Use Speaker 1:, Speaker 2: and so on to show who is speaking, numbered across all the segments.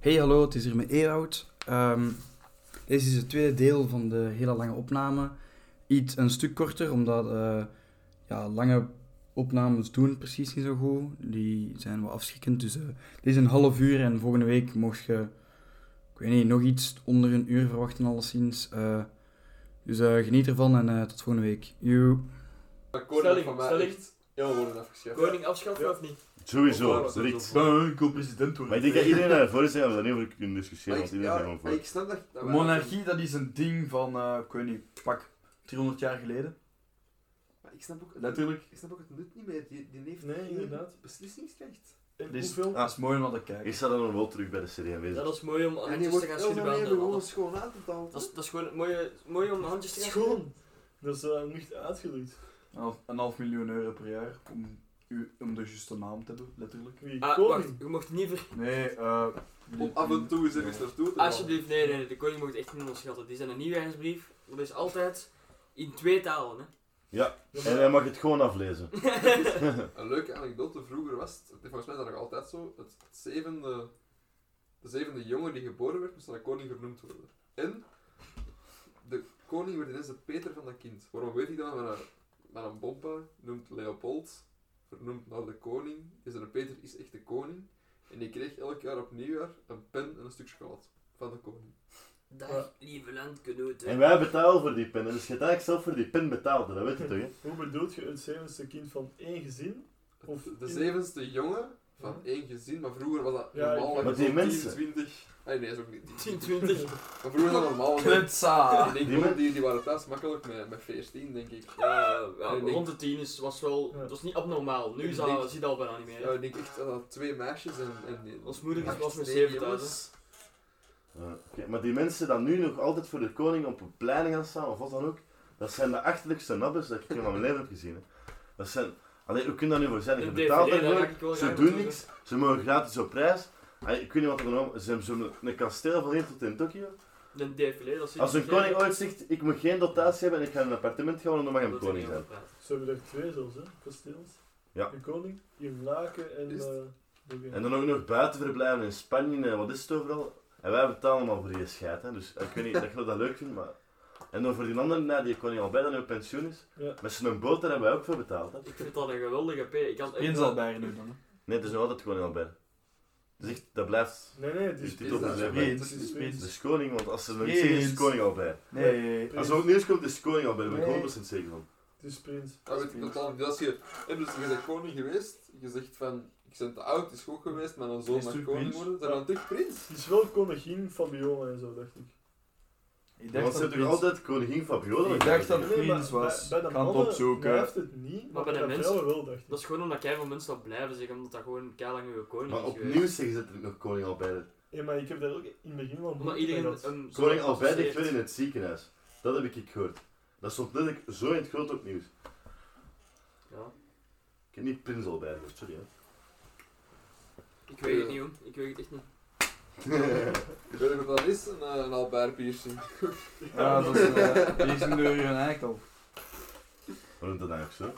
Speaker 1: Hey, hallo, het is hier met Ewout. Ehm deze is het tweede deel van de hele lange opname. Iets een stuk korter, omdat eh, ja, lange opnames doen precies niet zo goed. Die zijn wel afschrikkend. Dus eh, dit is een half uur en volgende week mocht je, ik weet niet, nog iets onder een uur verwachten, alleszins. Eh, dus eh, geniet ervan en eh, tot volgende week. Joe.
Speaker 2: Maar
Speaker 3: Stelling,
Speaker 2: koning van mij
Speaker 3: stelling.
Speaker 2: echt heel worden afgeschaft.
Speaker 3: Koning afschaffen
Speaker 2: Ja.
Speaker 3: of niet?
Speaker 4: Sowieso,
Speaker 2: Of-
Speaker 4: direct.
Speaker 2: Maar
Speaker 5: ik wil president
Speaker 4: Maar ik denk dat iedereen daarvoor is, ja, we daar niet over kunnen discussiëren,
Speaker 2: ik,
Speaker 4: want iedereen is
Speaker 2: ja,
Speaker 4: er gewoon
Speaker 2: maar
Speaker 4: voor.
Speaker 2: ik snap dat... dat wij-
Speaker 5: Monarchie, dat is een ding van, eh, ik weet niet, pak 300 jaar geleden.
Speaker 2: Maar ik snap ook... het-
Speaker 5: Natuurlijk.
Speaker 2: Ik snap ook het nut niet meer. Die, die heeft
Speaker 3: Nee,
Speaker 2: geen
Speaker 3: inderdaad.
Speaker 2: beslissingsrecht.
Speaker 3: En
Speaker 5: Dit is,
Speaker 3: hoeveel?
Speaker 5: dat is mooi om naar te
Speaker 4: Ik
Speaker 5: kijken.
Speaker 4: sta dan nog wel terug bij de CD aanwezig.
Speaker 3: Dat is mooi om
Speaker 2: En die
Speaker 3: handjes
Speaker 2: wordt
Speaker 3: te gaan
Speaker 2: heel veel
Speaker 3: schudden bij
Speaker 2: meer
Speaker 3: anderen.
Speaker 2: gewoon
Speaker 3: Dat
Speaker 2: schoon uitbetaald.
Speaker 3: is, dat is gewoon het mooie, mooi om handjes te gaan schudden.
Speaker 5: Schoon.
Speaker 3: Dat is eh, niet uitgedrukt.
Speaker 5: Een half, een half miljoen euro per jaar om, u, om de juiste naam te hebben, letterlijk.
Speaker 3: Wie?
Speaker 2: Ah,
Speaker 3: koning?
Speaker 2: wacht.
Speaker 3: Je mocht niet ver...
Speaker 5: Nee, eh...
Speaker 2: Om af en toe eens
Speaker 5: Ja.
Speaker 2: ergens naartoe te gaan.
Speaker 3: Alsjeblieft, nee, nee, nee, de koning mocht echt niet onderschatten. Die zijn een nieuwjaarsbrief. Dat is altijd in twee talen, hè.
Speaker 4: En hij mag het gewoon aflezen.
Speaker 2: Een leuke anekdote vroeger was, het, volgens mij is dat nog altijd zo, het zevende, de zevende jongen die geboren werd, moest naar koning vernoemd worden. En de koning werd ineens de Peter van dat kind. Waarom weet ik dat? Met een, met een bompa noemt Leopold, vernoemd naar de koning. Dus de Peter is echt de koning. En die kreeg elk jaar op nieuwjaar een pen en een stuk chocolade van de koning.
Speaker 3: Dag, lieve landgenoten.
Speaker 4: En wij betalen voor die pen, dus je hebt eigenlijk zelf voor die pen betaald, dat weet je toch, hè?
Speaker 6: Hoe bedoelt je het zevenste kind van één gezin? Of
Speaker 2: de
Speaker 6: in-
Speaker 2: zevenste jongen van één gezin, maar vroeger was dat
Speaker 6: Ja, ik-
Speaker 2: normaal.
Speaker 4: Maar
Speaker 2: dat je
Speaker 4: die
Speaker 2: zo 10,
Speaker 4: mensen-
Speaker 2: 20. Nee, nee, is ook niet.
Speaker 3: 10, 20.
Speaker 2: Maar vroeger was dat normaal. hè.
Speaker 5: Knutsa!
Speaker 2: Ik denk wel, die, die waren thuis makkelijk met, met 14, denk ik.
Speaker 3: Ja, ja,
Speaker 2: Nee, nee.
Speaker 3: rond de tien is, was wel...
Speaker 6: Ja.
Speaker 3: Dat was niet abnormaal. Nu
Speaker 2: Ik
Speaker 3: is dat,
Speaker 2: denk-
Speaker 3: zie je dat al bijna niet meer.
Speaker 2: Ja,
Speaker 3: hè.
Speaker 2: ik denk echt dat dat twee meisjes en... en die-
Speaker 3: Ons moeder is
Speaker 2: acht,
Speaker 3: pas met
Speaker 2: nee,
Speaker 3: 7000.
Speaker 2: jongens.
Speaker 4: Ja, oké. Maar die mensen die nu nog altijd voor de koning op een pleiding gaan staan, of wat dan ook, dat zijn de achterlijkste nabbers dat ik in mijn leven heb gezien, hè. Dat zijn... Allee, hoe kun je dat nu voor zijn? Je
Speaker 3: Een
Speaker 4: betaalt
Speaker 3: DVD, daar
Speaker 4: ervoor,
Speaker 3: ga ik wel
Speaker 4: ze
Speaker 3: graag
Speaker 4: doen
Speaker 3: naartoe,
Speaker 4: niks, ze mogen gratis op reis. Allee, ik weet niet wat er nou... Ze hebben zo'n een kasteel van hier tot in Tokio.
Speaker 3: Een defilé, dat zit
Speaker 4: Als een
Speaker 3: niet
Speaker 4: koning
Speaker 3: in.
Speaker 4: ooit zegt, ik moet geen dotatie hebben en ik ga in een appartement gaan, dan mag
Speaker 3: Dat
Speaker 4: hij een
Speaker 3: is
Speaker 4: koning
Speaker 3: niet
Speaker 4: zijn.
Speaker 3: over praten.
Speaker 6: Ze hebben er twee zelfs, hè? Kasteels.
Speaker 4: Ja.
Speaker 6: De koning, in Laken en...
Speaker 2: Is het?
Speaker 6: eh, Brugge.
Speaker 4: En dan ook nog buiten verblijven in Spanje en wat is het overal. En wij betalen allemaal voor die scheid, hè. dus ik weet niet dat je dat leuk vindt, maar... En dan voor die andere, nee, die koning al bijna nu op pensioen is,
Speaker 6: Ja.
Speaker 4: met zijn boot, daar hebben wij ook voor betaald. Hè.
Speaker 3: Ik vind dat een geweldige P. Ik kan
Speaker 5: Prins Albert nu dan. hè.
Speaker 4: Nee, het is nog altijd koning al bij. Dus echt, dat blijft...
Speaker 6: Nee, nee, het
Speaker 4: Dus
Speaker 6: is...
Speaker 4: dit
Speaker 2: is
Speaker 4: op
Speaker 2: dat
Speaker 4: ons
Speaker 2: zo?
Speaker 4: leven.
Speaker 2: Nee.
Speaker 5: Prins, is
Speaker 4: Het
Speaker 5: prins.
Speaker 4: is koning, want als er nog iets is, is het koning al bij.
Speaker 5: Nee,
Speaker 4: Als er ook nieuws komt, is het koning al bij, daar ben
Speaker 6: Nee.
Speaker 4: ik 100% zeker van.
Speaker 6: Het is prins.
Speaker 2: Dat weet ik totaal niet. Als je... En dus je bent koning geweest, je zegt van... Ik ben te oud, is goed geweest, maar dan zoon
Speaker 5: Is
Speaker 2: mag
Speaker 5: terug
Speaker 2: koning
Speaker 5: prins.
Speaker 2: worden. Dan dan terug prins.
Speaker 6: Het is wel koningin Fabiola en zo, dacht ik.
Speaker 5: ik dacht
Speaker 4: Want ze
Speaker 5: dat
Speaker 4: hebben toch
Speaker 5: prins...
Speaker 4: altijd koningin Fabiola?
Speaker 5: Ik dacht dat-
Speaker 6: Nee, maar
Speaker 5: Prins was.
Speaker 6: Bij, bij de
Speaker 5: Kan het
Speaker 6: mannen
Speaker 5: opzoeken.
Speaker 6: blijft het niet, maar
Speaker 3: bij
Speaker 6: bij
Speaker 3: de
Speaker 6: de
Speaker 3: mensen-
Speaker 6: vrouwen wel, dacht ik.
Speaker 3: Dat is gewoon omdat jij van mensen dat blijven zeggen, omdat dat gewoon keilang uw koning
Speaker 4: Maar
Speaker 3: is
Speaker 4: opnieuw
Speaker 3: geweest.
Speaker 4: zeggen ze dat er nog koning al bij is.
Speaker 6: Ja, maar ik heb daar ook in het begin wel
Speaker 3: Omdat
Speaker 6: moeite mee
Speaker 3: iedereen
Speaker 6: gehad.
Speaker 3: hem zo
Speaker 4: Koning Albert ligt
Speaker 3: associeert.
Speaker 4: weer in het ziekenhuis. Dat heb ik gehoord. Dat stond letterlijk zo in het groot op het nieuws.
Speaker 3: Ja.
Speaker 4: Ik heb niet Prins Albert gehoord, sorry. Hè.
Speaker 3: Ik weet het niet, hoor. Ik weet het echt niet.
Speaker 2: Ik weet niet wat dat is, een, eh, een Albert piercing.
Speaker 5: Ja, dat is... eh, Die is een deur en eigenlijk al.
Speaker 4: Hoe noemt dat nou ook zo?
Speaker 2: Ik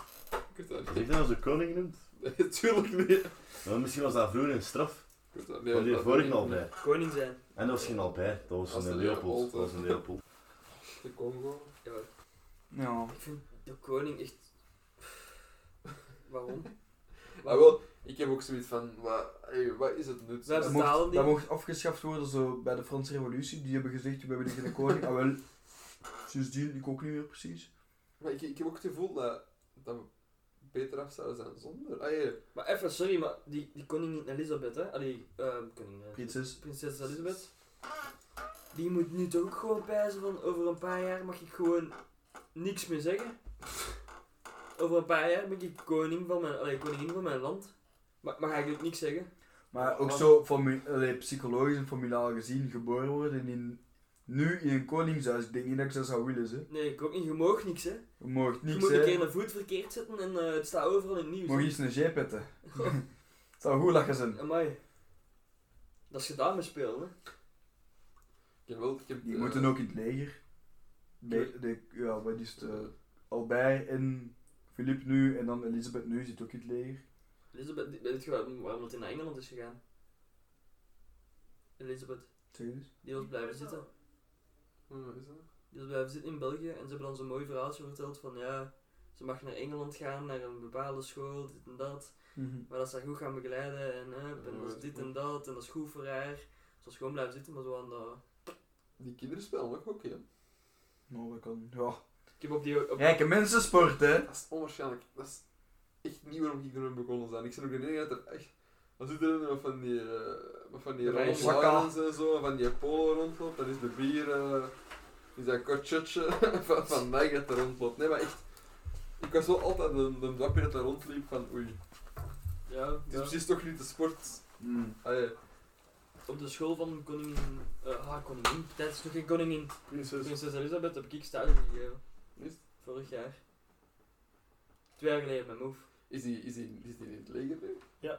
Speaker 2: weet dat
Speaker 4: Als
Speaker 2: niet.
Speaker 4: ik dat als een koning noemt?
Speaker 2: Nee, tuurlijk niet. Ik
Speaker 4: Maar misschien was dat vroeger een straf
Speaker 2: weet dat
Speaker 4: van
Speaker 2: niet.
Speaker 4: die
Speaker 2: dat-
Speaker 4: vorige Albert.
Speaker 3: Koning zijn.
Speaker 4: En dat was geen Albert, dat was
Speaker 2: Dat was
Speaker 4: een
Speaker 2: een
Speaker 4: Leopold.
Speaker 2: Leopold,
Speaker 4: Dat was een Leopold.
Speaker 2: De Congo.
Speaker 3: Ja.
Speaker 5: Ja.
Speaker 3: Ik vind de koning echt... Waarom?
Speaker 2: Maar wel, ik heb ook zoiets van... Wat, hey, wat is het nut?
Speaker 3: Dat
Speaker 5: Dat
Speaker 3: Betalen
Speaker 5: mocht,
Speaker 3: die?
Speaker 5: dat mocht afgeschaft worden zo bij de Franse Revolutie. Die hebben gezegd: we hebben geen koning. Ah, wel, sindsdien, ik ook niet meer precies.
Speaker 2: Maar ik, ik heb ook het gevoel dat, dat we beter af zouden zijn zonder. Ah, ja.
Speaker 3: Maar even, sorry, maar die, die koningin Elisabeth, hè? Ah, die ehm, koningin... eh,
Speaker 5: Prinses.
Speaker 3: Prinses Elisabeth. Die moet nu toch ook gewoon pijzen van over een paar jaar mag ik gewoon niks meer zeggen. Over een paar jaar ben ik koning van mijn, allee, koningin van mijn land. Maar, maar ga ik ook niks zeggen?
Speaker 5: Maar ook zo fami- allee, psychologisch en familiaal gezien geboren worden en in, nu in een koningshuis. Ik denk niet dat ik dat zou willen. Hè.
Speaker 3: Nee, ik ook niet. Je mag niks, hè.
Speaker 5: Je mag
Speaker 3: Je
Speaker 5: niks
Speaker 3: moet een keer
Speaker 5: zeggen.
Speaker 3: een voet verkeerd zetten en eh, het staat overal in het
Speaker 5: Je
Speaker 3: nieuws.
Speaker 5: mag iets een jeep petten. Het zou goed lachen zijn.
Speaker 3: Amai. Dat is gedaan met spelen, hè.
Speaker 2: Ik heb wel... Ik heb,
Speaker 5: Die
Speaker 2: eh,
Speaker 5: moeten ook in het leger. De, de, ja, wat is het? eh, Albert en Philippe nu en dan Elisabeth nu zit ook in het leger.
Speaker 3: Elisabeth, weet je waarom, waarom dat in naar Engeland is gegaan? En Elisabeth.
Speaker 5: Zeg eens.
Speaker 3: Die was blijven zitten.
Speaker 2: Hm, is dat?
Speaker 3: Die was blijven zitten in België en ze hebben dan zo'n mooi verhaaltje verteld van ja, ze mag naar Engeland gaan, naar een bepaalde school, dit en dat. Maar dat ze haar goed gaan begeleiden en, hup, en dat is dit en dat en dat is goed voor haar. Ze was gewoon blijven zitten, maar zo aan dat...
Speaker 2: Die kinderen spelen ook oké. hè.
Speaker 5: Nou, dat kan. Ja.
Speaker 3: Ik heb op die... Op
Speaker 5: Rijke mensen sport, hè.
Speaker 2: Dat is onwaarschijnlijk. Dat is echt niet waarom ik erin begonnen zijn. Ik zit ook in dat er echt. Dan zit er een van die, eh, met van die
Speaker 3: De
Speaker 2: Ron
Speaker 3: wijze
Speaker 2: Laurens en zo, van die Polo rondloopt. Dat is de bier, eh, is dat kortjetje van, van mij dat er rondloopt. Nee, maar echt. Ik was wel altijd een, een dwapje dat er rondliep van oei.
Speaker 3: ja,
Speaker 2: Het is
Speaker 3: ja.
Speaker 2: precies toch niet de sport.
Speaker 5: Mm.
Speaker 2: Allee,
Speaker 3: op de school van koningin... eh ah, koningin. Dat is nog geen koningin.
Speaker 6: Prinses.
Speaker 3: Prinses Elisabeth heb ik stage gegeven.
Speaker 2: Is het?
Speaker 3: Vorig jaar. Twee jaar geleden met Move.
Speaker 2: is die, is die, is die in het leger nu?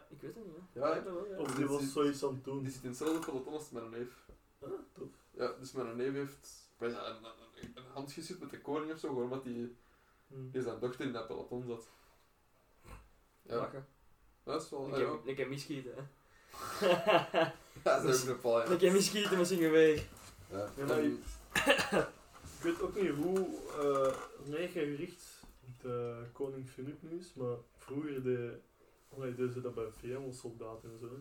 Speaker 3: Ik weet het niet, hè.
Speaker 2: Ja,
Speaker 3: ik wel, ja.
Speaker 6: Of die was zoiets aan het doen.
Speaker 2: Die zit in hetzelfde peloton als mijn neef.
Speaker 6: Ah, tof.
Speaker 2: Ja, dus mijn neef heeft ik weet niet, een, een, een hand geschud met de koning of zo, gewoon omdat hij
Speaker 6: Hm.
Speaker 2: is zijn dochter in dat peloton zat. Ja,
Speaker 3: Lachen.
Speaker 2: dat is wel...
Speaker 3: Ik
Speaker 2: ah, ja.
Speaker 3: heb, ik heb misschieten, hè.
Speaker 2: Ja, dat is ook een val, ja.
Speaker 3: ik heb misschieten met zijn geweer.
Speaker 2: Ja.
Speaker 6: Ja, maar
Speaker 2: en-
Speaker 6: je- Ik weet ook niet hoe uh, neergericht de koning Filip nu is, maar vroeger de, allee, deden ze dat bij VN-soldaten en zo. hè.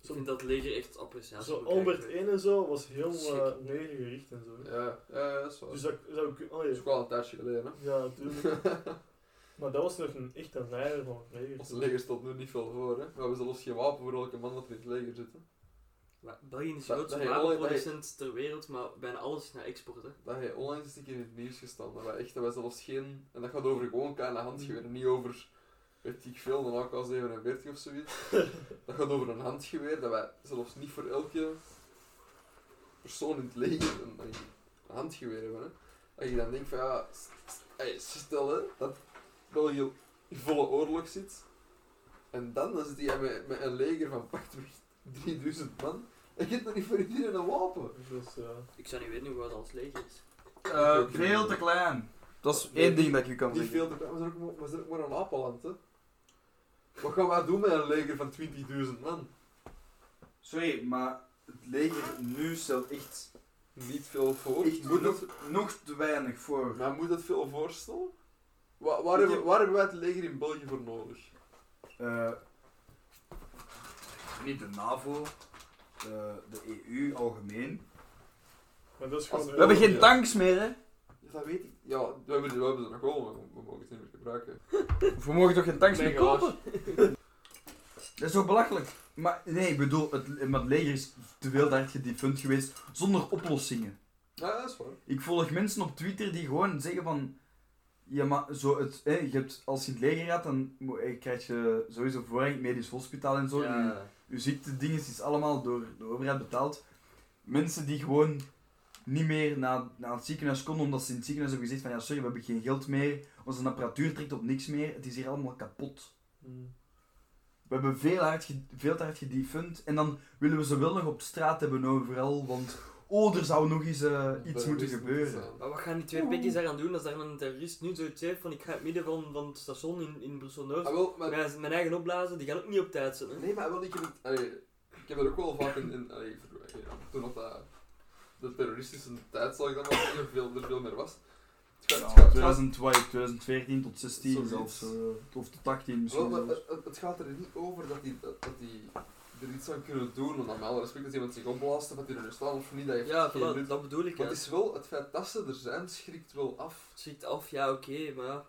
Speaker 3: Ik vind dat leger echt appreciatie.
Speaker 6: zo
Speaker 3: moet krijgen.
Speaker 6: Albert 1 en zo was heel eh
Speaker 3: Schrik.
Speaker 6: neergericht en zo. hè.
Speaker 2: Ja, ja, ja, dat is wel...
Speaker 6: Dus dat zou ik.
Speaker 2: dat
Speaker 6: Allee,
Speaker 2: is ook wel een tijdje geleden, hè.
Speaker 6: ja, natuurlijk. maar dat was nog een, echt een leider van het leger.
Speaker 2: Ons leger stond nu niet veel voor, hè. We hebben zelfs geen wapen voor elke man dat er in het leger zit, hè.
Speaker 3: Maar België is de
Speaker 2: Dat-
Speaker 3: grootste
Speaker 2: dat je alle-
Speaker 3: wapenproducent ter wereld, maar bijna alles is naar export, hè.
Speaker 2: Dat hij onlangs eens een keer in het nieuws gestaan. Dat wij echt, dat wij zelfs geen... En dat gaat over gewoon kleine handgeweren, niet over... Weet ik veel, een AK-47 of zoiets. dat gaat over een handgeweer, dat wij zelfs niet voor elke persoon in het leger een, een handgeweer hebben. Hè. Dat je dan denkt van ja... s- s- hey, stel hè, dat België in volle oorlog zit. En dan, dan zit hij met, met een leger van pakweg 3000 man. En je hebt nog niet voor iedereen een wapen.
Speaker 6: Dus ja.
Speaker 3: Ik zou niet weten hoe groot ons leger is.
Speaker 2: Eh,
Speaker 5: veel te klein. Dat is één ding dat ik je kan
Speaker 2: Niet
Speaker 5: zeggen.
Speaker 2: veel te klein, we zijn ook maar, we zijn ook maar een appelland, hè. Wat gaan wij doen met een leger van 20.000 man?
Speaker 5: Sorry, maar het leger nu stelt echt,
Speaker 2: Niet veel voor.
Speaker 5: echt
Speaker 2: moet
Speaker 5: nog,
Speaker 2: het,
Speaker 5: nog te weinig voor.
Speaker 2: maar moet het veel voorstellen? Wa- waar, hebben, waar hebben wij het leger in België voor nodig?
Speaker 5: Eh, niet de NAVO, eh, de EU algemeen.
Speaker 6: Maar dat is
Speaker 2: Als-
Speaker 6: gewoon.
Speaker 5: We hebben geen
Speaker 2: Ja.
Speaker 5: tanks meer, hè?
Speaker 2: Ja, dat weet ik. Ja, we hebben, we hebben ze nog wel, maar we- we mogen het niet meer gebruiken.
Speaker 5: We mogen toch geen tanks
Speaker 3: Mijn
Speaker 5: meer
Speaker 3: garage.
Speaker 5: kopen? Dat is toch belachelijk? Maar nee, ik bedoel, het, maar het leger is te veel hard gedefunct geweest zonder oplossingen.
Speaker 2: Ja, dat is waar.
Speaker 5: Ik volg mensen op Twitter die gewoon zeggen van... Ja, maar zo het, hè, je hebt, als je in het leger gaat, dan mo- eh, krijg je sowieso voorrang in het medisch hospitaal en zo. En je ziektedingen is allemaal door de overheid betaald. Mensen die gewoon niet meer naar, naar het ziekenhuis konden, omdat ze in het ziekenhuis hebben gezegd van ja, sorry, we hebben geen geld meer. Onze apparatuur trekt op niks meer. Het is hier allemaal kapot.
Speaker 2: Hmm.
Speaker 6: Hm.
Speaker 5: We hebben veel, hard ge- veel te hard gedefund. En dan willen we ze wel nog op straat hebben overal, want... Oh, er zou nog eens eh, iets
Speaker 2: Dat
Speaker 5: moeten
Speaker 2: is eh. niet
Speaker 5: gebeuren.
Speaker 2: zo.
Speaker 3: Maar wat gaan die twee pikjes daaraan doen als daar een terrorist nu zoiets heeft van ik ga in het midden van, van het station in, in Brussel-Noord
Speaker 2: Ah, wel, maar
Speaker 3: mijn, mijn eigen opblazen, die gaan ook niet op tijd zijn, hè.
Speaker 2: Nee, maar wel, ik heb het... allee, ik heb er ook wel vaak in... in allee, ver- ja, toen dat, dat de terroristische tijd, zal ik dat maar zeggen, veel, er veel meer was. Het gaat- het gaat- het gaat-
Speaker 5: 2012, 2014 tot 16
Speaker 2: Zoiets.
Speaker 5: zelfs. eh, Of tot 18
Speaker 2: Wel,
Speaker 5: misschien
Speaker 2: maar
Speaker 5: zelfs.
Speaker 2: het, het- het gaat er niet over dat die, dat, dat die er iets aan kunnen doen. Want met alle respect dat iemand zich opblaast of dat die er staan of niet, dat heeft
Speaker 3: Ja,
Speaker 2: geen
Speaker 3: voilà,
Speaker 2: nut.
Speaker 3: dat bedoel ik,
Speaker 2: Maar
Speaker 3: hè.
Speaker 2: het is wel, het feit dat ze er zijn, schrikt wel af.
Speaker 3: Het schiet af, ja oké, maar ja.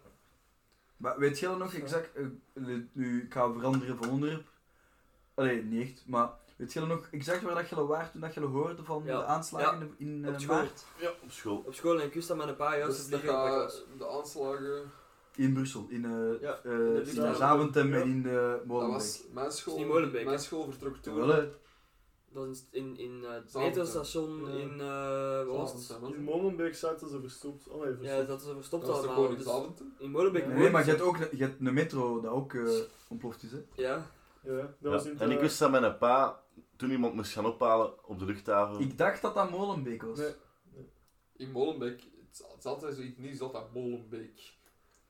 Speaker 5: Maar weet jij nog exact... eh, le- nu, ik ga veranderen van onderwerp. Allee, niet echt, maar... Weet jij nog exact waar dat je waar toen dat je hoorde van
Speaker 3: Ja.
Speaker 5: de aanslagen in eh,
Speaker 3: op school.
Speaker 5: maart?
Speaker 4: Ja, op school.
Speaker 3: Op school en ik wist dat met een paar jaar
Speaker 2: Dus
Speaker 3: te
Speaker 2: dat
Speaker 3: vliegen op
Speaker 2: gaat-
Speaker 3: dat was.
Speaker 2: de aanslagen,
Speaker 5: In Brussel, in, eh
Speaker 3: Ja,
Speaker 5: eh,
Speaker 3: de
Speaker 5: in
Speaker 3: luchthaven.
Speaker 5: Zaventem
Speaker 6: Ja.
Speaker 5: en in de
Speaker 2: dat
Speaker 5: Molenbeek.
Speaker 2: was mijn
Speaker 3: niet
Speaker 2: school,
Speaker 3: Molenbeek,
Speaker 2: mijn
Speaker 3: hè?
Speaker 2: school vertrok toen.
Speaker 5: Jawel, hè.
Speaker 3: Dat was in, in eh, het
Speaker 2: Zaventem.
Speaker 3: metrostation
Speaker 6: Ja.
Speaker 3: in... eh wat was het?
Speaker 2: Zaventem, hè?
Speaker 6: In Molenbeek zaten ze verstopt. Allee,
Speaker 3: Ja,
Speaker 6: verstopt.
Speaker 3: dat is
Speaker 2: Dat
Speaker 3: verstopt
Speaker 2: was de
Speaker 3: allemaal. Dus
Speaker 2: Koningsavond.
Speaker 3: in Molenbeek
Speaker 6: Nee,
Speaker 5: Nee,
Speaker 3: woont
Speaker 5: maar je
Speaker 3: ze.
Speaker 5: hebt ook je hebt een metro dat ook eh, ontploft is, hè.
Speaker 3: Ja,
Speaker 6: Ja, dat was in het,
Speaker 4: En ik
Speaker 6: eh,
Speaker 4: wist dat mijn pa toen iemand moest gaan ophalen op de luchthaven.
Speaker 5: Ik dacht dat dat Molenbeek was.
Speaker 6: Nee.
Speaker 2: In Molenbeek, het het is altijd zoiets nieuws dat dat Molenbeek.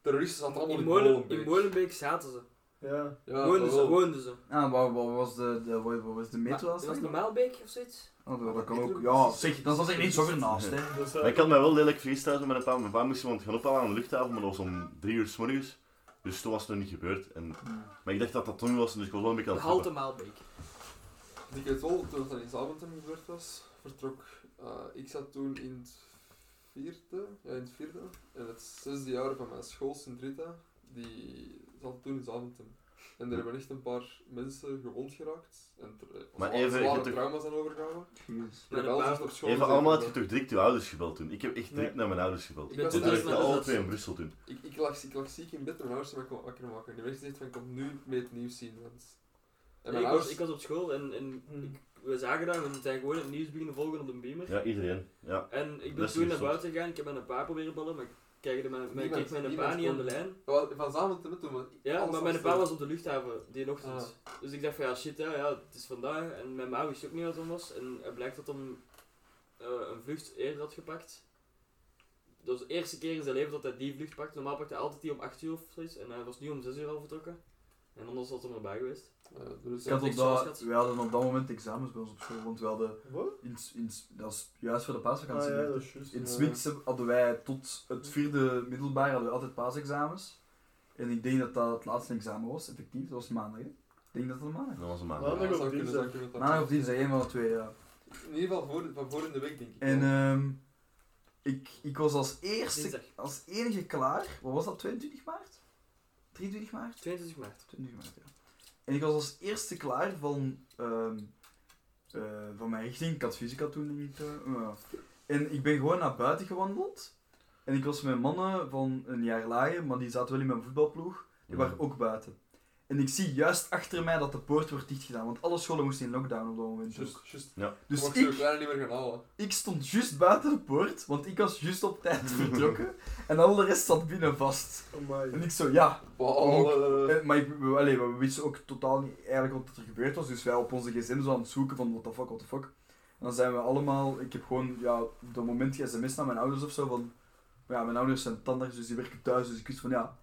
Speaker 2: Terroristen zaten allemaal
Speaker 3: in,
Speaker 2: in
Speaker 3: Molen,
Speaker 2: Molenbeek.
Speaker 3: in Molenbeek zaten ze.
Speaker 6: Ja.
Speaker 2: Ja,
Speaker 3: woonden, ze,
Speaker 2: jawel.
Speaker 3: woonden ze.
Speaker 5: Ah, wat, wat was de, de, wat, wat was de metro
Speaker 3: Maar,
Speaker 5: als
Speaker 3: dat was Ah, normaal beek of zoiets?
Speaker 5: Oh, dat- dat kan ook. Ja, zeg, dat zat er niet zo ver naast, hè.
Speaker 6: Dus,
Speaker 4: Maar ik had mij wel lelijk feesthuizen met een paar. Mijn pa moest iemand gaan ophalen aan de luchthaven, maar dat was om drie uur s morgens. Dus toen was het nog niet gebeurd. En, maar ik dacht dat dat toen was, dus ik was wel een beetje aan
Speaker 3: De
Speaker 4: het
Speaker 3: halte
Speaker 4: happen.
Speaker 3: Maalbeek.
Speaker 2: Ik weet wel, toen dat in Zaventem gebeurd was, vertrok. eh, ik zat toen in het vierde, ja, in het vierde, en het zesde jaar van mijn school, Sint-Rita, die zat toen in Zaventem. En er hebben echt een paar mensen gewond geraakt. En er eh,
Speaker 4: Maar
Speaker 2: zwa-
Speaker 4: even, je
Speaker 2: zware
Speaker 4: hebt toch-
Speaker 2: trauma's aan overgehouden.
Speaker 5: Jezus.
Speaker 2: Maar
Speaker 3: Maar
Speaker 2: wel
Speaker 3: een
Speaker 2: zelfs
Speaker 3: paar-
Speaker 2: op school.
Speaker 4: Even
Speaker 2: gezeten
Speaker 4: allemaal had je
Speaker 2: hebben.
Speaker 4: toch direct je ouders gebeld toen? Ik heb echt direct
Speaker 6: Nee.
Speaker 4: naar mijn ouders gebeld.
Speaker 3: Ik
Speaker 4: Ik
Speaker 2: ben
Speaker 4: was
Speaker 2: toen direct
Speaker 4: eigenlijk
Speaker 2: naar
Speaker 4: alle
Speaker 3: huis.
Speaker 4: twee in Brussel toen.
Speaker 2: Ik, ik, lag, ik lag ziek in bed en mijn ouders zijn mij wakker maken. Die werd gezegd van, kom nu mee het nieuws zien. Want... En
Speaker 3: Nee,
Speaker 2: mijn
Speaker 3: ik, was,
Speaker 2: ouders...
Speaker 3: ik was op school en, en
Speaker 6: Hmm.
Speaker 3: ik, we zagen dat, we zijn gewoon het nieuws beginnen volgen op de beamer.
Speaker 4: Ja, iedereen. Ja.
Speaker 3: En ik ben
Speaker 4: Best
Speaker 3: toen naar
Speaker 4: gezond.
Speaker 3: buiten gegaan, ik heb mijn pa proberen bellen, maar ik kreeg mijn, mijn,
Speaker 2: Niemand-
Speaker 3: kreeg mijn pa
Speaker 2: niemand
Speaker 3: niet aan de
Speaker 2: kon-
Speaker 3: lijn.
Speaker 2: Wel, Van Zaventem hè, toen, maar
Speaker 3: Ja,
Speaker 2: alles
Speaker 3: maar mijn pa
Speaker 2: afstaan.
Speaker 3: was op de luchthaven die ochtend. Dus ik dacht van ja shit, hè, ja, het is vandaag. En mijn ma wist ook niet wat het was. En het blijkt dat hem eh, een vlucht eerder had gepakt. Dat was de eerste keer in zijn leven dat hij die vlucht pakte. Normaal pakte hij altijd die om 8 uur of zoiets. En hij was nu om 6 uur al vertrokken. En anders was hij erbij geweest.
Speaker 2: Eh, dus-
Speaker 5: Ik had op
Speaker 3: niks zoals
Speaker 5: dat,
Speaker 3: gehad.
Speaker 5: we hadden op dat moment examens bij ons op school, want we hadden,
Speaker 6: Wat?
Speaker 5: in, s- in, s- dat is juist voor de
Speaker 6: Ah
Speaker 5: paasvakantie.
Speaker 6: ja, dat is juist.
Speaker 5: In
Speaker 2: Ja.
Speaker 5: het Smits heb- hadden wij tot het vierde middelbaar hadden we altijd paasexamens. En ik denk dat dat het laatste examen was, effectief. Dat was maandag, hè? Ik denk dat het maandag
Speaker 4: Dat was een
Speaker 2: Ja,
Speaker 4: maand.
Speaker 6: Maandag
Speaker 2: dat
Speaker 6: op
Speaker 2: zou kunnen,
Speaker 6: dinsdag.
Speaker 2: zou kunnen, dat
Speaker 5: was. Maandag
Speaker 2: zou
Speaker 5: of dinsdag, één van de twee, ja.
Speaker 2: In ieder geval voor, van voor in de week, denk ik.
Speaker 5: En
Speaker 2: wel.
Speaker 5: ehm, ik, ik was als eerste,
Speaker 3: Dinsdag,
Speaker 5: als enige klaar. Wat was dat, 22 maart? 23 maart?
Speaker 3: 22 maart.
Speaker 5: 20 maart, ja. En ik was als eerste klaar van, ehm, eh, van mijn richting. Ik had fysica toen, denk ik. eh, ja. En ik ben gewoon naar buiten gewandeld. En ik was met mannen van een jaar lager, maar die zaten wel in mijn voetbalploeg. Die waren ook buiten. En ik zie juist achter mij dat de poort wordt dichtgedaan, want alle scholen moesten in lockdown op dat moment.
Speaker 2: Just,
Speaker 5: ook.
Speaker 2: just.
Speaker 5: eh, Dus
Speaker 2: mocht
Speaker 5: ik,
Speaker 2: je kleine niet meer gaan halen.
Speaker 5: ik stond juist buiten de poort, want ik was juist op tijd vertrokken. en al de rest zat binnen vast.
Speaker 6: Amai.
Speaker 5: En ik zo, ja,
Speaker 2: Ballen.
Speaker 5: Eh, maar ik, we, allee, we wisten ook totaal niet eigenlijk wat er gebeurd was, dus wij op onze gezin zo aan het zoeken van what the fuck, what the fuck. En dan zijn we allemaal, ik heb gewoon ja, op dat moment sms naar mijn ouders of zo van, ja mijn ouders zijn tandarts dus die werken thuis, dus ik wist van ja,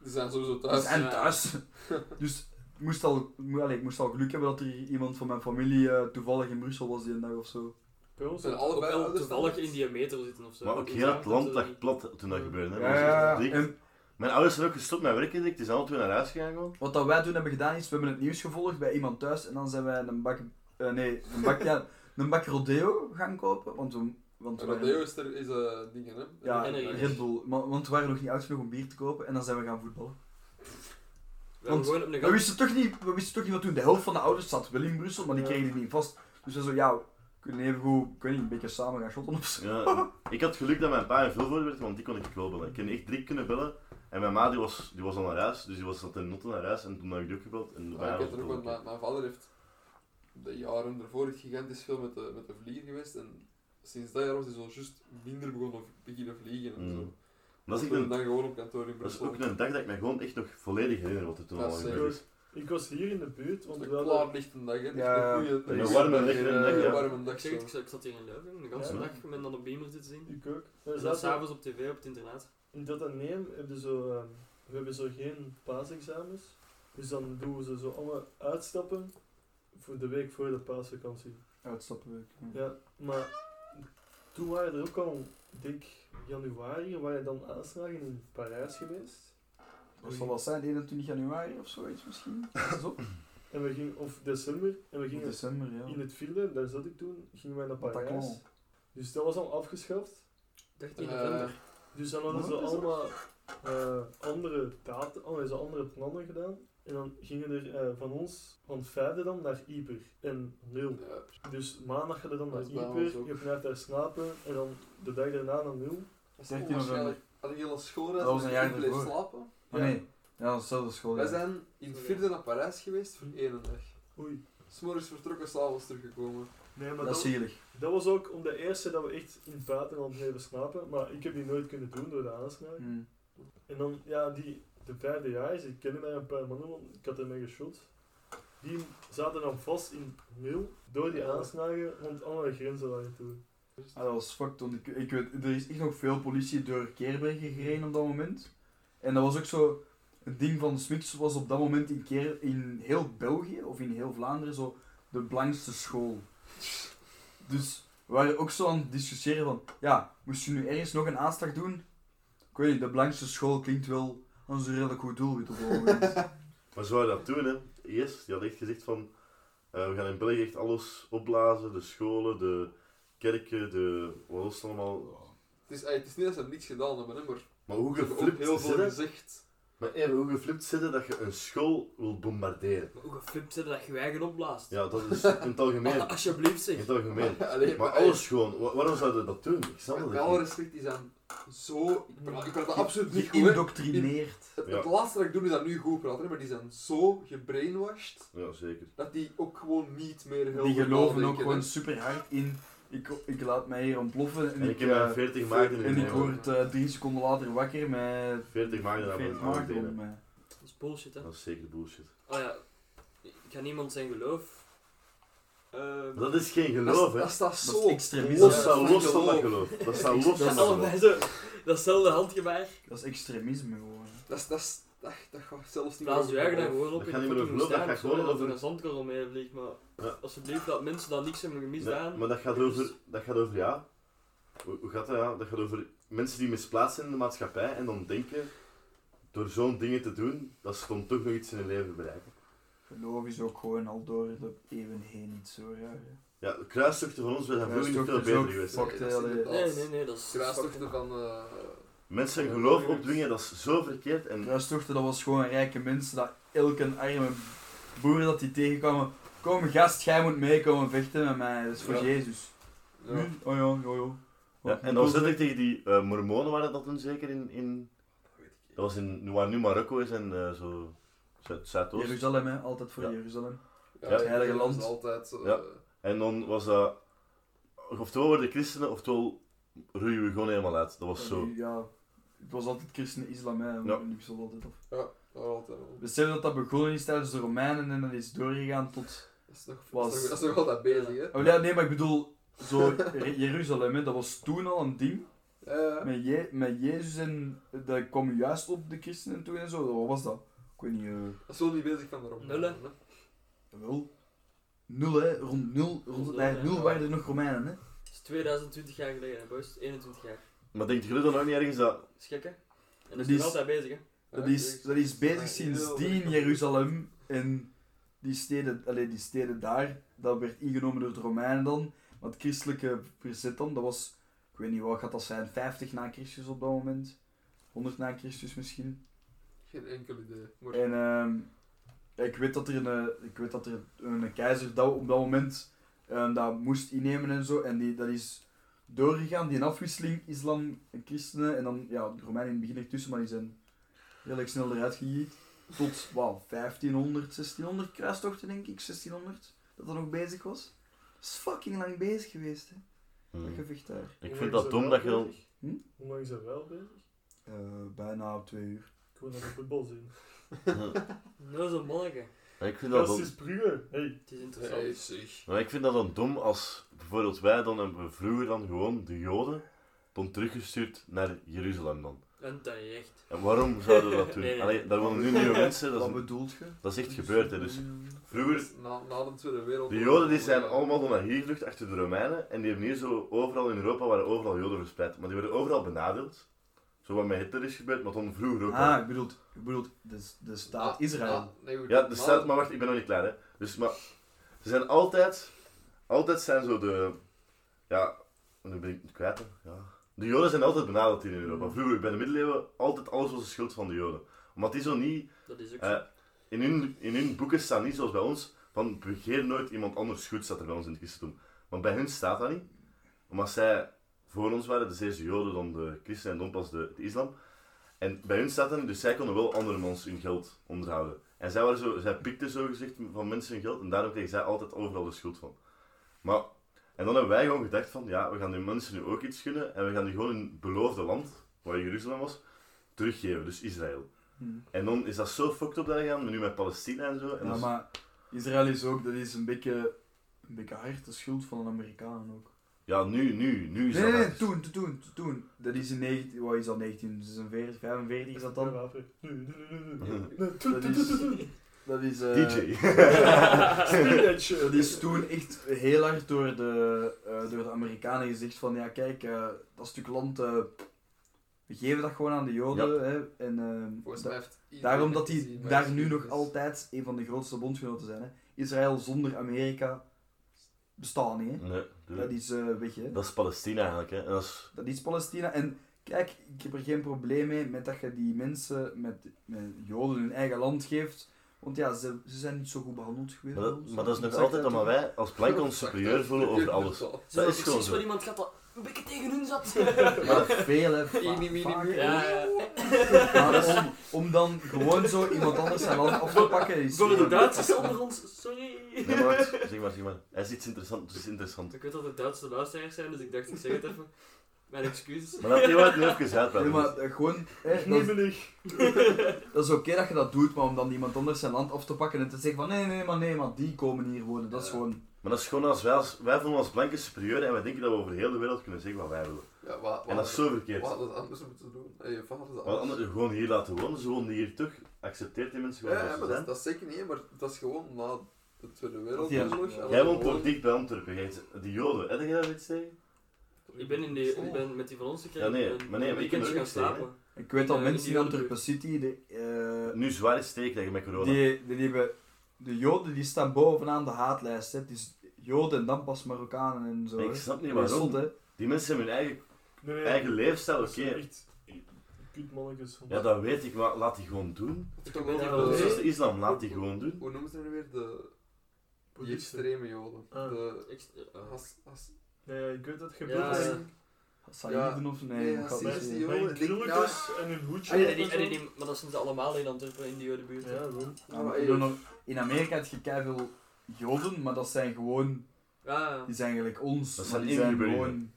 Speaker 2: Die zijn sowieso
Speaker 5: we
Speaker 2: thuis.
Speaker 5: zijn thuis. dus ik moest, al, mo- allee, ik moest al geluk hebben dat er iemand van mijn familie eh, toevallig in Brussel was die een dag of zo.
Speaker 6: Oh, Bij ons
Speaker 2: Zijn
Speaker 6: ook.
Speaker 3: Ook
Speaker 2: allebei
Speaker 3: wel
Speaker 2: ouders
Speaker 3: toevallig
Speaker 2: thuis?
Speaker 3: in die meter zitten Dus ofzo.
Speaker 4: Maar ook heel het land
Speaker 3: eh,
Speaker 4: lag plat toen dat gebeurde. Hè.
Speaker 5: Ja,
Speaker 4: Dat was
Speaker 5: ja,
Speaker 4: echt
Speaker 5: ja.
Speaker 4: dik.
Speaker 5: Dus, eh, En
Speaker 4: Mijn ouders zijn ook gestopt met werken direct. Die zijn alle twee naar huis gegaan gewoon.
Speaker 5: wat dat wij toen hebben gedaan is, we hebben het nieuws gevolgd bij iemand thuis en dan zijn wij een bak, eh, nee, een bak, ja, een bak rodeo gaan kopen, want we... Want
Speaker 2: En
Speaker 5: we-
Speaker 2: Rodeo is er, is eh dingen, hè?
Speaker 5: Ja,
Speaker 2: En-
Speaker 3: Energy.
Speaker 5: Red Bull. Maar, want we waren nog niet oud genoeg om bier te kopen en dan zijn we gaan voetballen.
Speaker 3: We
Speaker 5: Want
Speaker 3: hebben gewoon op een
Speaker 5: We
Speaker 3: gang-
Speaker 5: wisten toch niet, we wisten toch niet wat toen. De helft van de ouders zat wel in Brussel, maar die
Speaker 6: Ja.
Speaker 5: kregen het niet vast. Dus we zo, ja, we kunnen even goed, ik weet niet, een beetje samen gaan shotten of zo.
Speaker 4: Ja, ik had geluk dat mijn pa in Vilvoorde werd, want die kon ik wel bellen. Ik kon echt direct kunnen bellen. En mijn ma die was, die was al naar huis, dus die was zat in Notten naar huis. En toen heb ik die ook gebeld. En
Speaker 2: Maar
Speaker 4: daarna
Speaker 2: Ah, ik heb
Speaker 4: was het
Speaker 2: er ook,
Speaker 4: wel
Speaker 2: want
Speaker 4: oké.
Speaker 2: mijn, mijn vader heeft de jaren ervoor echt gigantisch veel met de, met de vlieger geweest. En sinds dat jaar was hij zo juist minder begonnen beginnen vliegen. En
Speaker 4: Mm.
Speaker 2: zo.
Speaker 4: Dat is,
Speaker 2: Ik
Speaker 4: echt een,
Speaker 2: dan gewoon op kantoor in
Speaker 4: dat is
Speaker 2: Brussel.
Speaker 4: ook een dag dat ik me gewoon echt nog volledig herinner wat er toen
Speaker 2: Dat
Speaker 4: allemaal
Speaker 2: is
Speaker 4: gebeurd is.
Speaker 6: Ik was hier in de buurt, want
Speaker 2: Een
Speaker 6: we hadden...
Speaker 2: klaarlichte dag, hè? Echt
Speaker 5: Ja.
Speaker 2: Een goede
Speaker 4: Een warme, lekkere dag, ja.
Speaker 2: warme
Speaker 3: Ik
Speaker 2: dag.
Speaker 3: zeg het, ik
Speaker 2: zo.
Speaker 3: zat- ik zat hier in Leuven, de hele
Speaker 6: Ja.
Speaker 3: dag, met dan op Beamer zitten zien.
Speaker 6: Ik ook.
Speaker 3: En
Speaker 6: We
Speaker 3: dan
Speaker 6: zaten
Speaker 3: s'avonds op tv, op het internaat.
Speaker 6: In dat en neem hebben zo, ehm, we hebben zo geen paasexamens. Dus dan doen we ze zo allemaal uitstappen voor de week voor de paasvakantie.
Speaker 5: Uitstappen we. ook, ja.
Speaker 6: Ja, maar toen waren er ook al, ik denk januari, waren er dan aanslagen in Parijs geweest.
Speaker 5: Dat zal wel zijn, 21 januari of zoiets misschien. Dat is op.
Speaker 6: En we gingen, of december, en we
Speaker 5: In
Speaker 6: gingen
Speaker 5: december, ja.
Speaker 6: in het vierde, daar zat ik toen, gingen wij naar Parijs.
Speaker 5: Bataclan.
Speaker 6: Dus dat was al afgeschaft.
Speaker 3: 13
Speaker 2: Eh,
Speaker 3: november.
Speaker 6: Dus dan hadden ze allemaal eh, andere data, hadden ze andere plannen gedaan. En dan gingen er eh, van ons, van vijfde dan, naar Ieper. En nul.
Speaker 2: Eh, Ja.
Speaker 6: Dus maandag ga je dan naar
Speaker 2: Dat is bij ons ook.
Speaker 6: Ieper, je blijft daar slapen. En dan de dag daarna naar nul.
Speaker 2: Dat is
Speaker 5: 13
Speaker 2: onwaarschijnlijk. Had ik hele schoolreis
Speaker 5: Dat was
Speaker 2: en
Speaker 5: een jaar
Speaker 2: ik bleef
Speaker 5: ervoor.
Speaker 2: slapen?
Speaker 5: Oh nee, ja, dezelfde school.
Speaker 2: Wij
Speaker 5: Ja.
Speaker 2: zijn in het vierde naar Parijs geweest voor één dag.
Speaker 6: Oei.
Speaker 2: S'morgens vertrokken, s'avonds teruggekomen.
Speaker 6: Nee, maar
Speaker 5: Dat is
Speaker 6: dat,
Speaker 5: zielig.
Speaker 6: dat was ook om de eerste dat we echt in het buitenland bleven slapen. Maar ik heb die nooit kunnen doen door de aanslagen.
Speaker 5: Hm.
Speaker 6: En dan, ja, die, de vijfde jaar, ik kende daar een paar mannen van, ik had ermee geschot. Die zaten dan vast in nul door die aanslagen, want alle grenzen waren toe.
Speaker 5: Ah, dat was fucked, want ik, ik weet, er is echt nog veel politie door Keerbergen gereden op dat moment. En dat was ook zo, het ding van Switch was op dat moment in, keer, in heel België of in heel Vlaanderen zo de belangrijkste school. Dus we waren ook zo aan het discussiëren van, ja, moest je nu ergens nog een aanslag doen? Ik weet niet, de belangrijkste school klinkt wel als een redelijk goed doelwit op dat moment.
Speaker 4: Maar zou je dat doen, hè? Eerst, die had echt gezegd van, eh, we gaan in België echt alles opblazen, de scholen, de kerken, de... wat is het allemaal?
Speaker 2: Het is, ey, het is niet dat ze niets gedaan hebben, hè, maar ze
Speaker 4: Maar hoe
Speaker 2: hebben ook heel
Speaker 4: geflipt
Speaker 2: veel
Speaker 4: zitten,
Speaker 2: gezegd.
Speaker 4: maar even, hoe geflipt zitten dat je een school wil bombarderen.
Speaker 3: Maar Hoe geflipt zitten dat je je eigen opblaast.
Speaker 4: Ja, dat is in het algemeen.
Speaker 3: Alsjeblieft
Speaker 4: In
Speaker 3: zeg.
Speaker 4: het algemeen.
Speaker 2: Allee,
Speaker 4: Maar alles gewoon, wa- waarom zouden we dat doen? Ik snap dat
Speaker 2: Met alle
Speaker 4: niet.
Speaker 2: respect, die zijn zo... Ik praat, ik praat dat absoluut niet goed. hè.
Speaker 5: Geïndoctrineerd.
Speaker 2: Het,
Speaker 4: Ja.
Speaker 2: het laatste dat ik doe is dat nu goed praten, hè, maar die zijn zo gebrainwashed
Speaker 4: Ja, zeker.
Speaker 2: dat die ook gewoon niet meer heel
Speaker 5: Die
Speaker 2: goed
Speaker 5: geloven ook
Speaker 2: nadenken,
Speaker 5: gewoon
Speaker 2: hè.
Speaker 5: super hard in, ik, ik laat mij hier ontploffen en,
Speaker 4: En ik
Speaker 5: ik,
Speaker 4: heb mijn
Speaker 5: eh,
Speaker 4: 40 maanden in
Speaker 5: en ik
Speaker 4: mijn hand.
Speaker 5: word eh, drie seconden later wakker met
Speaker 4: 40 maanden aan
Speaker 5: 40
Speaker 4: mijn
Speaker 5: maart
Speaker 4: hand
Speaker 5: onder
Speaker 4: delen.
Speaker 5: mij.
Speaker 3: Dat is bullshit hè.
Speaker 4: Dat is zeker bullshit.
Speaker 3: Oh ja, ik ga niemand zijn geloof.
Speaker 2: Ehm,
Speaker 4: Dat is geen
Speaker 2: dat,
Speaker 4: geloof, hè.
Speaker 2: dat staat zo...
Speaker 5: is extremisme.
Speaker 4: Los,
Speaker 2: los
Speaker 4: staat
Speaker 2: van
Speaker 4: los van
Speaker 2: geloof.
Speaker 4: dat geloof. Dat staat
Speaker 3: Dat
Speaker 4: los
Speaker 3: is
Speaker 4: van dat geloof.
Speaker 3: allebei zo. Datzelfde handgebaar.
Speaker 5: Dat is extremisme gewoon. hè.
Speaker 2: Dat, is- dat, is- dat, dat gaat zelfs niet
Speaker 3: Blaas
Speaker 2: over
Speaker 3: je eigen daar
Speaker 2: geloof.
Speaker 3: gewoon op
Speaker 4: Dat
Speaker 3: in
Speaker 4: gaat
Speaker 3: de
Speaker 4: niet meer over
Speaker 3: fucking woestijn of
Speaker 4: geloof, dat gaat
Speaker 3: zo,
Speaker 4: gewoon
Speaker 3: dat er
Speaker 4: over-
Speaker 3: een zandkorrel mee vliegt. Maar
Speaker 4: Ja.
Speaker 3: alsjeblieft, laat mensen dat niks hebben
Speaker 4: Ja,
Speaker 3: misdaan.
Speaker 4: maar dat gaat over, dat gaat over ja. Hoe, hoe gaat dat ja? Dat gaat over mensen die misplaatst zijn in de maatschappij en dan denken, door zo'n dingen te doen, dat ze dan toch nog iets in hun leven bereiken.
Speaker 5: Geloof is ook gewoon al door de eeuwen heen iets zo raar. hè.
Speaker 4: Ja, de kruistochten van ons, we zijn vroeger niet
Speaker 5: Kruistochten
Speaker 4: veel
Speaker 5: is
Speaker 4: beter
Speaker 5: ook
Speaker 4: geweest.
Speaker 5: fucked, eh,
Speaker 2: Nee, dat is
Speaker 5: hè,
Speaker 2: inderdaad-
Speaker 3: Nee, nee, nee, dat is...
Speaker 2: Kruistochten van... eh,
Speaker 4: Mensen hun geloof opdwingen, dat is zo verkeerd. En
Speaker 5: Kruistochten, dat was gewoon rijke mensen, dat elke arme boer dat die tegenkwamen, kom gast, jij moet meekomen vechten met mij, dat is voor
Speaker 2: Ja.
Speaker 5: Jezus.
Speaker 2: ja.
Speaker 5: Nu? Oh ja, ja, ja.
Speaker 4: Ja, en dan zit ik tegen die eh, Mormonen, waren dat toen zeker in. in dat was in waar nu Marokko is en eh, zo. Zuid- Zuidoost.
Speaker 5: Jeruzalem, hè? altijd voor
Speaker 4: Ja.
Speaker 5: Jeruzalem.
Speaker 2: Ja,
Speaker 4: het
Speaker 5: heilige
Speaker 2: dat
Speaker 5: land.
Speaker 2: is altijd... eh,
Speaker 4: Ja. En dan was dat. Oftewel worden christenen, oftewel roeien we gewoon helemaal uit. Dat was zo.
Speaker 5: Ja, het was altijd christen-islam, hè?
Speaker 4: Ja.
Speaker 5: Nu is het altijd af.
Speaker 2: Ja, dat altijd wel.
Speaker 5: Besef dat dat begonnen is tijdens de Romeinen en dat is doorgegaan tot.
Speaker 2: Dat is nog,
Speaker 5: Was-
Speaker 2: dat is nog, dat is nog altijd bezig, hè.
Speaker 5: Oh, ja, nee, maar ik bedoel, zo Re- Jeruzalem, hè? dat was toen al een ding.
Speaker 2: Eh,
Speaker 5: Met, Je- met Jezus en dat kwam juist op de christenen toe en zo. Wat was dat? Ik weet niet. eh,
Speaker 2: dat is wel niet bezig van de Romeinen,
Speaker 3: Nullen.
Speaker 2: hè.
Speaker 5: wel. Nul, hè? Rond nul, rond,
Speaker 3: Nul,
Speaker 5: nee,
Speaker 3: ja.
Speaker 5: nul waren er nog Romeinen, hè?
Speaker 3: Dat is 2020 jaar geleden, hè, boys. 21 jaar.
Speaker 4: Maar denkt jullie dan ook niet ergens dat.
Speaker 3: Dat is gek, hè? En dat
Speaker 5: Dat
Speaker 3: is nog
Speaker 5: is-
Speaker 3: altijd bezig, hè?
Speaker 5: Dat
Speaker 2: Ja,
Speaker 5: is, dat is bezig sindsdien Jeruzalem en die steden, allee, die steden daar, dat werd ingenomen door de Romeinen dan. Maar het christelijke verzet dan, dat was, ik weet niet wat gaat dat zijn, 50 na Christus op dat moment. 100 na Christus misschien.
Speaker 2: Geen enkel idee. Maar
Speaker 5: En ehm, ja, ik weet dat er een, eh, ik weet dat er een keizer dat op dat moment ehm, dat moest innemen en zo. En die, dat is doorgegaan, die afwisseling islam en christenen. En dan, ja, de Romeinen in het begin ertussen, maar die zijn redelijk snel eruit gejiet. Tot, wauw, 1500, 1600 kruistochten denk ik, 1600. Dat dat nog bezig was. Dat is fucking lang bezig geweest, hè.
Speaker 4: Hmm.
Speaker 5: Dat gevecht daar.
Speaker 4: Ik vind dat dom dat je dan.
Speaker 5: Hm?
Speaker 6: Hoe lang zijn wij al bezig?
Speaker 5: Eh, bijna twee uur.
Speaker 6: Ik wil naar de voetbal zien.
Speaker 3: Dat is een Nou, manneke.
Speaker 4: Ja, ik vind dat
Speaker 6: Dat
Speaker 4: dan.
Speaker 6: is Brugge. Hey.
Speaker 3: Het is
Speaker 2: Hey,
Speaker 3: interessant.
Speaker 2: zeg.
Speaker 4: Maar ik vind dat dan dom als bijvoorbeeld wij dan hebben we vroeger dan gewoon de Joden dan teruggestuurd naar Jeruzalem dan.
Speaker 3: En terecht.
Speaker 4: En waarom zouden we dat doen?
Speaker 3: Nee, nee.
Speaker 4: Allee, daar wonen nu nieuwe mensen, dat
Speaker 5: Wat
Speaker 4: is,
Speaker 5: bedoelt je?
Speaker 4: dat is echt gebeurd. Hè. Dus
Speaker 5: Ehm,
Speaker 4: vroeger,
Speaker 2: Na, na de Tweede
Speaker 4: de
Speaker 2: Wereldoorlog...
Speaker 4: Joden die zijn allemaal dan naar hier gevlucht achter de Romeinen. En die hebben hier zo overal in Europa waren overal Joden verspreid. Maar die werden overal benadeeld. Zo wat met Hitler is gebeurd, maar dan vroeger ook.
Speaker 5: Ah,
Speaker 4: al.
Speaker 5: ik bedoel, ik bedoel de, de
Speaker 2: Na-
Speaker 5: staat Israël.
Speaker 2: na- nee, goed,
Speaker 4: Ja, de
Speaker 2: na-
Speaker 4: staat, maar wacht, ik ben nog niet klaar. Hè. Dus maar, ze zijn altijd, altijd zijn zo de, ja, nu ben ik het kwijt. hè. Ja. De Joden zijn altijd benadeeld hier in Europa. Vroeger, bij de middeleeuwen, altijd alles was de schuld van de Joden. Omdat die zo niet
Speaker 3: Dat is ook
Speaker 4: Eh,
Speaker 3: zo.
Speaker 4: in, hun, in hun boeken staan niet zoals bij ons, van begeer nooit iemand anders goed, staat er bij ons in het christendom. Want bij hun staat dat niet. Omdat zij voor ons waren, dus eerst de Joden, dan de christen en dan pas de, de islam. En bij hun staat dat niet, dus zij konden wel andere mensen hun geld onderhouden. En zij, waren zo, zij pikten zo gezegd van mensen hun geld en daarom kregen zij altijd overal de schuld van. Maar, en dan hebben wij gewoon gedacht van, ja, we gaan die mensen nu ook iets gunnen en we gaan die gewoon hun beloofde land, waar Jeruzalem was, teruggeven, dus Israël.
Speaker 5: Hm.
Speaker 4: En dan is dat zo fucked op daar gegaan, nu met Palestina en zo. En
Speaker 5: Ja,
Speaker 4: dat is-
Speaker 5: maar Israël is ook, dat is een beetje, een beetje hard de schuld van de Amerikanen ook.
Speaker 4: Ja, nu, nu, nu is
Speaker 5: Nee, nee,
Speaker 4: dat...
Speaker 5: nee,
Speaker 4: echt-
Speaker 5: toen, toen, toen, toen. Dat is in 19, wat is dat, 1946, 45 is dat dan? Dat is, dat is, eh,
Speaker 4: DJ.
Speaker 5: Dat is toen echt heel hard door de, eh, door de Amerikanen gezegd van, ja kijk, eh, dat stuk land, eh, we geven dat gewoon aan de Joden. Hè, en, eh,
Speaker 2: Volgens
Speaker 5: da-
Speaker 2: mij heeft iedereen
Speaker 5: daarom dat
Speaker 2: het
Speaker 5: die
Speaker 2: gezien, maar
Speaker 5: daar
Speaker 2: het
Speaker 5: nu
Speaker 2: is- dus-
Speaker 5: nog
Speaker 2: is-
Speaker 5: altijd een van de grootste bondgenoten zijn. Hè. Israël zonder Amerika bestaat niet. Hè.
Speaker 4: Nee, doe
Speaker 5: Dat
Speaker 4: dat.
Speaker 5: is eh, weg. Hè.
Speaker 4: Dat is Palestina eigenlijk, hè. En dat is...
Speaker 5: Dat is Palestina. En kijk, ik heb er geen probleem mee met dat je die mensen, met, met Joden, hun eigen land geeft. Want ja, ze, ze zijn niet zo goed behandeld geweest.
Speaker 4: Maar
Speaker 5: bij
Speaker 4: dat,
Speaker 5: ons.
Speaker 4: maar dat is nog
Speaker 5: Zag
Speaker 4: altijd
Speaker 5: dat
Speaker 4: omdat
Speaker 5: toen?
Speaker 4: wij als blanken ons superieur voelen over alles.
Speaker 3: Zo,
Speaker 4: Dat is gewoon
Speaker 3: precies
Speaker 4: zo.
Speaker 3: wat iemand gaat dat een beetje tegen hun zat.
Speaker 5: Maar veel, hè. Va-
Speaker 2: Eenie, meenie,
Speaker 5: vaak,
Speaker 2: moe.
Speaker 5: hè.
Speaker 3: Ja, ja.
Speaker 5: Maar om, om dan gewoon zo iemand anders zijn land af te pakken is...
Speaker 3: Voor de Duitsers onder ons, sorry.
Speaker 4: Nee, maar wacht, zeg maar, zeg maar. Hij is iets interessants, dus interessant.
Speaker 3: Ik weet dat het Duitse luisteraars zijn, dus ik dacht, ik zeg het even. Mijn excuses.
Speaker 4: Maar dat die wat nu even
Speaker 5: Nee,
Speaker 4: uitpraten.
Speaker 5: maar eh, gewoon... Hè, dat,
Speaker 6: Kniebelig.
Speaker 5: dat is oké dat je dat doet, maar om dan iemand anders zijn land af te pakken en te zeggen van nee, nee, maar nee, maar die komen hier wonen, dat is gewoon...
Speaker 4: Maar dat is gewoon als wij, als, wij voelen ons blanken superieur en wij denken dat we over heel de wereld kunnen zeggen wat wij willen.
Speaker 2: Ja, wat,
Speaker 4: En dat is zo verkeerd.
Speaker 2: Wat hadden ze anders moeten doen? Hey, wat hadden ze
Speaker 4: Want
Speaker 2: anders...
Speaker 4: anderen gewoon hier laten wonen, ze wonen hier toch. Accepteert die mensen gewoon
Speaker 2: Ja, ja,
Speaker 4: zoals
Speaker 2: maar
Speaker 4: ze
Speaker 2: dat, dat
Speaker 4: zijn.
Speaker 2: is zeker niet, maar dat is gewoon na de Tweede
Speaker 5: Ja.
Speaker 2: Wereldoorlog. en
Speaker 4: Jij
Speaker 2: dan
Speaker 4: woont
Speaker 2: gewoon-
Speaker 4: toch dicht bij Antwerpen, jij hebt die joden. Heb jij dat iets tegen?
Speaker 3: Ik ben, in die, ik ben met die van ons gekregen.
Speaker 4: Oh. Ja, nee,
Speaker 3: ik ben
Speaker 4: maar nee,
Speaker 3: een
Speaker 4: maar ik
Speaker 3: weekendje
Speaker 4: heb
Speaker 3: gaan
Speaker 4: dat ook gezien,
Speaker 3: slapen.
Speaker 5: Ik weet al
Speaker 3: Eh,
Speaker 5: mensen in
Speaker 3: die
Speaker 5: Antwerpen City, de, eh,
Speaker 4: Nu zwaar is steek tegen met corona.
Speaker 5: die, die hebben... De Joden die staan bovenaan de haatlijst, hè. Het is Joden en dan pas Marokkanen en zo,
Speaker 4: Maar ik
Speaker 5: hè.
Speaker 4: snap niet
Speaker 5: Dat is
Speaker 4: waarom.
Speaker 5: zot, hè.
Speaker 4: Die mensen hebben hun eigen,
Speaker 6: Nee, nee.
Speaker 4: eigen leefstijl,
Speaker 6: Dat
Speaker 4: oké.
Speaker 6: zijn echt kutmannetjes.
Speaker 4: Ja, dat weet ik, maar laat die gewoon doen.
Speaker 2: Toch wel
Speaker 3: Ja,
Speaker 2: die-
Speaker 4: Dat
Speaker 3: nee.
Speaker 4: is zoals de islam, laat die gewoon doen.
Speaker 2: Hoe noemen ze hem weer? De die
Speaker 6: Boeddhisten.
Speaker 2: extreme joden.
Speaker 6: Ah.
Speaker 2: De
Speaker 3: Ik, eh,
Speaker 2: has, has,
Speaker 6: Nee, ja, ik weet dat je
Speaker 3: Ja,
Speaker 6: bedoelt.
Speaker 3: ja.
Speaker 6: Met-
Speaker 5: Saïden of nee,
Speaker 2: Nee,
Speaker 5: ik
Speaker 2: ja,
Speaker 5: had
Speaker 2: Precies,
Speaker 6: Met
Speaker 5: niet-
Speaker 2: die
Speaker 6: met
Speaker 2: jongen,
Speaker 6: hun
Speaker 2: ik denk-
Speaker 6: krulletjes en hun hoedje.
Speaker 3: en die-
Speaker 6: op en
Speaker 3: en die-
Speaker 6: zo.
Speaker 3: die- maar Ah, dat zijn ze allemaal in Antwerpen, in die Jodenbuurt.
Speaker 6: Ja,
Speaker 3: Ja,
Speaker 6: wel.
Speaker 5: Ja,
Speaker 2: Ah,
Speaker 5: maar ik bedoel nog- in Amerika heb je keiveel Joden, maar dat zijn gewoon,
Speaker 3: ja.
Speaker 5: die zijn eigenlijk ons.
Speaker 4: Dat
Speaker 5: maar
Speaker 4: zijn
Speaker 5: die zijn
Speaker 4: ingeburgerden.
Speaker 5: gewoon,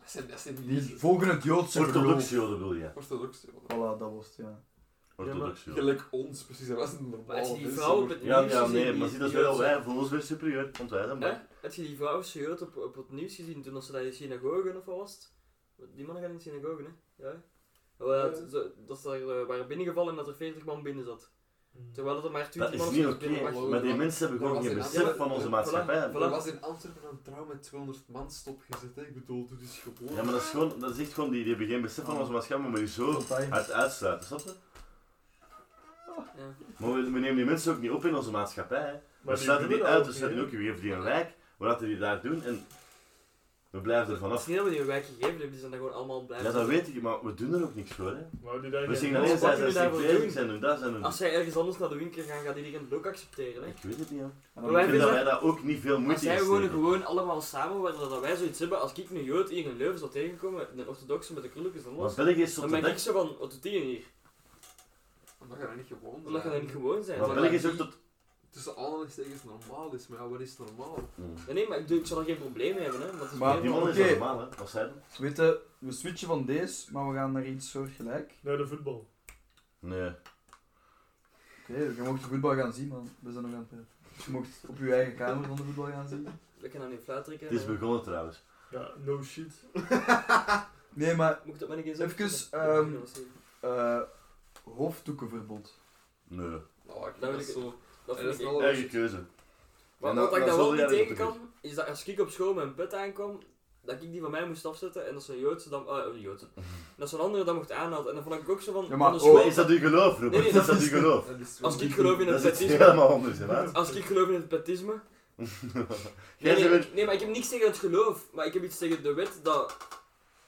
Speaker 2: Dat zijn, dat zijn
Speaker 5: die
Speaker 2: niet
Speaker 5: volgen het Joodse
Speaker 4: Orthodox
Speaker 5: geloof.
Speaker 4: joden wil je.
Speaker 2: orthodox joden.
Speaker 5: Voilà, dat was het, ja.
Speaker 4: Orthodox joden.
Speaker 2: Gelijk ons, precies. Dat was een
Speaker 3: Maar als
Speaker 2: normaal
Speaker 3: je die vrouw op het
Speaker 4: Ja,
Speaker 3: nieuws
Speaker 4: ja,
Speaker 3: gezien,
Speaker 4: nee,
Speaker 3: die-
Speaker 4: maar zie dat is
Speaker 3: die
Speaker 4: wel
Speaker 3: Joodse-
Speaker 4: wij, voelen ons weer superieur, want wij zijn blank.
Speaker 3: Hè? Heb je die vrouw gehoord op, op het nieuws gezien toen dat ze daar in de synagoge of wat was? het? Die mannen gaan in de synagoge, hè? Ja. Wel, ja,
Speaker 2: Ja.
Speaker 3: ze- Dat ze daar eh, waren binnengevallen en dat er 40 man binnen zat. Terwijl dat er maar 20
Speaker 4: Dat is
Speaker 3: man
Speaker 4: niet
Speaker 3: of zo
Speaker 4: oké,
Speaker 3: binnen mag.
Speaker 4: maar die mensen hebben gewoon
Speaker 2: Ja,
Speaker 4: geen
Speaker 2: maar-
Speaker 4: besef van onze
Speaker 2: Voilà,
Speaker 4: maatschappij.
Speaker 2: Er was in Antwerpen een trouw met 200 man stopgezet. Hè. Ik bedoel, dit is gewoon.
Speaker 4: Ja, maar dat is gewoon, dat is echt gewoon, die, die hebben geen besef van onze maatschappij, maar je zo
Speaker 5: Totaal.
Speaker 4: uit uitsluiten, snap je?
Speaker 3: Ja.
Speaker 4: Maar we, we nemen die mensen ook niet op in onze maatschappij, hè.
Speaker 6: Maar
Speaker 4: We
Speaker 6: die
Speaker 4: sluiten
Speaker 6: doen
Speaker 4: die
Speaker 6: dat
Speaker 4: uit,
Speaker 6: ook
Speaker 4: we sluiten
Speaker 6: niet,
Speaker 4: ook, wie heeft die een wijk, we laten die daar doen en we blijven er
Speaker 3: Het is
Speaker 4: vanaf.
Speaker 3: niet dat we die een wijk gegeven hebben, die zijn daar gewoon allemaal blij
Speaker 4: Ja, dat weet ik, maar we doen er ook niks voor, hè.
Speaker 6: hè. Maar die daar
Speaker 4: We
Speaker 6: geen-
Speaker 4: zeggen alleen, zij
Speaker 3: wat kunnen we
Speaker 4: zijn
Speaker 3: daarvoor
Speaker 4: strikterig,
Speaker 3: doen?
Speaker 4: zij doen dat, zij doen
Speaker 3: Als
Speaker 4: dat.
Speaker 3: zij ergens anders naar de winkel gaan, gaat iedereen het ook accepteren. Hè?
Speaker 4: Ik weet het niet, hè.
Speaker 5: En
Speaker 3: Maar
Speaker 5: dan-
Speaker 4: Ik
Speaker 3: wij
Speaker 4: vind dat
Speaker 3: vinden-
Speaker 4: wij daar ook niet veel
Speaker 3: Maar
Speaker 4: moeite in
Speaker 3: zij wonen
Speaker 4: steken.
Speaker 3: gewoon allemaal samen, waardoor dat wij zoiets hebben. Als ik een Jood hier in Leuven zou tegenkomen, een orthodoxe met de krulletjes dan
Speaker 4: Want
Speaker 3: los,
Speaker 4: België is tot
Speaker 3: dan
Speaker 4: de
Speaker 3: ben ik
Speaker 4: dak,
Speaker 3: zo van, wat doet die hier?
Speaker 2: Omdat je daar niet gewoon
Speaker 3: Omdat je dat
Speaker 2: bent.
Speaker 3: niet gewoon bent.
Speaker 4: maar
Speaker 3: Dan-
Speaker 4: België is ook tot...
Speaker 2: Tussen aanhalingstekens normaal is. Maar ja, wat is normaal?
Speaker 3: Nee, nee, maar ik, doe- ik zal er geen probleem mee hebben, hè. want het is
Speaker 5: Maar-
Speaker 4: Hmm. Die
Speaker 3: meer-
Speaker 4: man is
Speaker 5: Oké.
Speaker 4: normaal, hè. Wat zei hij?
Speaker 5: Weet je, we switchen van deze, maar we gaan naar iets soortgelijk.
Speaker 6: Naar de voetbal.
Speaker 4: Nee.
Speaker 5: Oké, je mocht de voetbal gaan zien, man. We zijn nog aan het praten. Je mocht op je eigen kamer van de voetbal gaan zien.
Speaker 3: Ik kan aan die fluit trekken.
Speaker 4: Het is
Speaker 3: hè.
Speaker 4: begonnen trouwens.
Speaker 6: Ja, no shit.
Speaker 5: Nee, maar
Speaker 3: Moet ik dat maar niet eens op-
Speaker 5: Even,
Speaker 3: Ja, dat
Speaker 5: ehm,
Speaker 3: was hier.
Speaker 5: eh hoofddoekenverbod.
Speaker 4: Nee.
Speaker 2: Nou, ik
Speaker 3: Dat
Speaker 2: dat
Speaker 3: wil ik-
Speaker 2: is zo.
Speaker 3: Dat
Speaker 2: En dat
Speaker 3: vind
Speaker 2: is
Speaker 3: ik
Speaker 2: wel-
Speaker 4: Eigen keuze.
Speaker 3: Wat,
Speaker 4: En dat-
Speaker 3: wat ik
Speaker 4: nou, dat
Speaker 3: daar wel
Speaker 4: zal
Speaker 3: niet
Speaker 4: jij
Speaker 3: tegen
Speaker 4: dat ook
Speaker 3: kan, is dat als ik op school mijn put aankwam, dat ik die van mij moest afzetten en dat zo'n Joodse dan... eh, een Joodse. Dat zo'n andere dan mocht aanhouden. En dan vond ik ook zo van...
Speaker 5: Ja, maar-
Speaker 3: van de
Speaker 4: Oh,
Speaker 3: school-
Speaker 4: is dat uw geloof, Robert?
Speaker 3: Nee, nee,
Speaker 4: is dat uw geloof?
Speaker 2: Dat is zo.
Speaker 3: Als ik geloof in
Speaker 4: Dat
Speaker 3: het
Speaker 4: is iets
Speaker 3: petisme...
Speaker 4: helemaal anders, hè, maat?
Speaker 3: Als ik geloof in het petisme...
Speaker 4: Jij
Speaker 3: Nee, nee,
Speaker 4: zei weer-
Speaker 3: nee, maar ik heb niks tegen het geloof, maar ik heb iets tegen de wet dat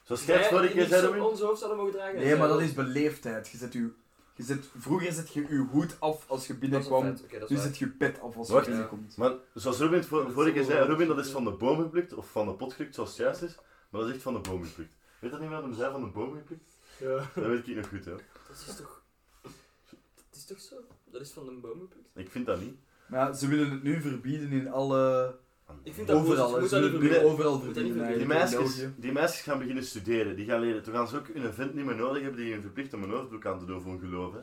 Speaker 4: Zoals jij het
Speaker 3: wij
Speaker 4: vorige keer
Speaker 3: niks
Speaker 4: zei,
Speaker 3: op
Speaker 4: Robin?
Speaker 3: ons hoofd zouden mogen dragen.
Speaker 5: Nee, maar dat is beleefdheid. Je zet je, je zet, vroeger zet je je hoed af als je
Speaker 3: Dat is een
Speaker 5: binnenkwam.
Speaker 3: feit, oké, dat
Speaker 5: Nu
Speaker 3: is waar.
Speaker 5: zet je pet af als je
Speaker 4: Wacht.
Speaker 5: binnenkomt.
Speaker 4: Maar zoals Robin het vor- vorige keer zei, Robin dat is van de boom geplukt, of van de pot geplukt, zoals het juist is. Maar dat is echt van de boom geplukt. Weet dat niet meer wat hem zei, van de boom geplukt?
Speaker 6: Ja.
Speaker 4: Dat weet ik nog goed, hè.
Speaker 3: Dat is toch... Dat is toch zo? Dat is van een boom geplukt.
Speaker 4: Ik vind dat niet.
Speaker 5: Maar ja, ze willen het nu verbieden in alle...
Speaker 3: Ik vind dat
Speaker 5: Overal,
Speaker 3: goed,
Speaker 5: hè.
Speaker 3: je moet
Speaker 5: ze
Speaker 3: dat niet
Speaker 5: willen het nu
Speaker 3: verbieden.
Speaker 5: overal
Speaker 3: Moet dat
Speaker 5: verbieden. eigenlijk,
Speaker 3: niet
Speaker 4: Die
Speaker 5: in
Speaker 4: meisjes,
Speaker 5: België.
Speaker 4: die meisjes gaan beginnen studeren, die gaan leren. Toen gaan ze ook hun vent niet meer nodig hebben die hun verplicht om een hoofddoek aan te doen voor hun geloof. Hè.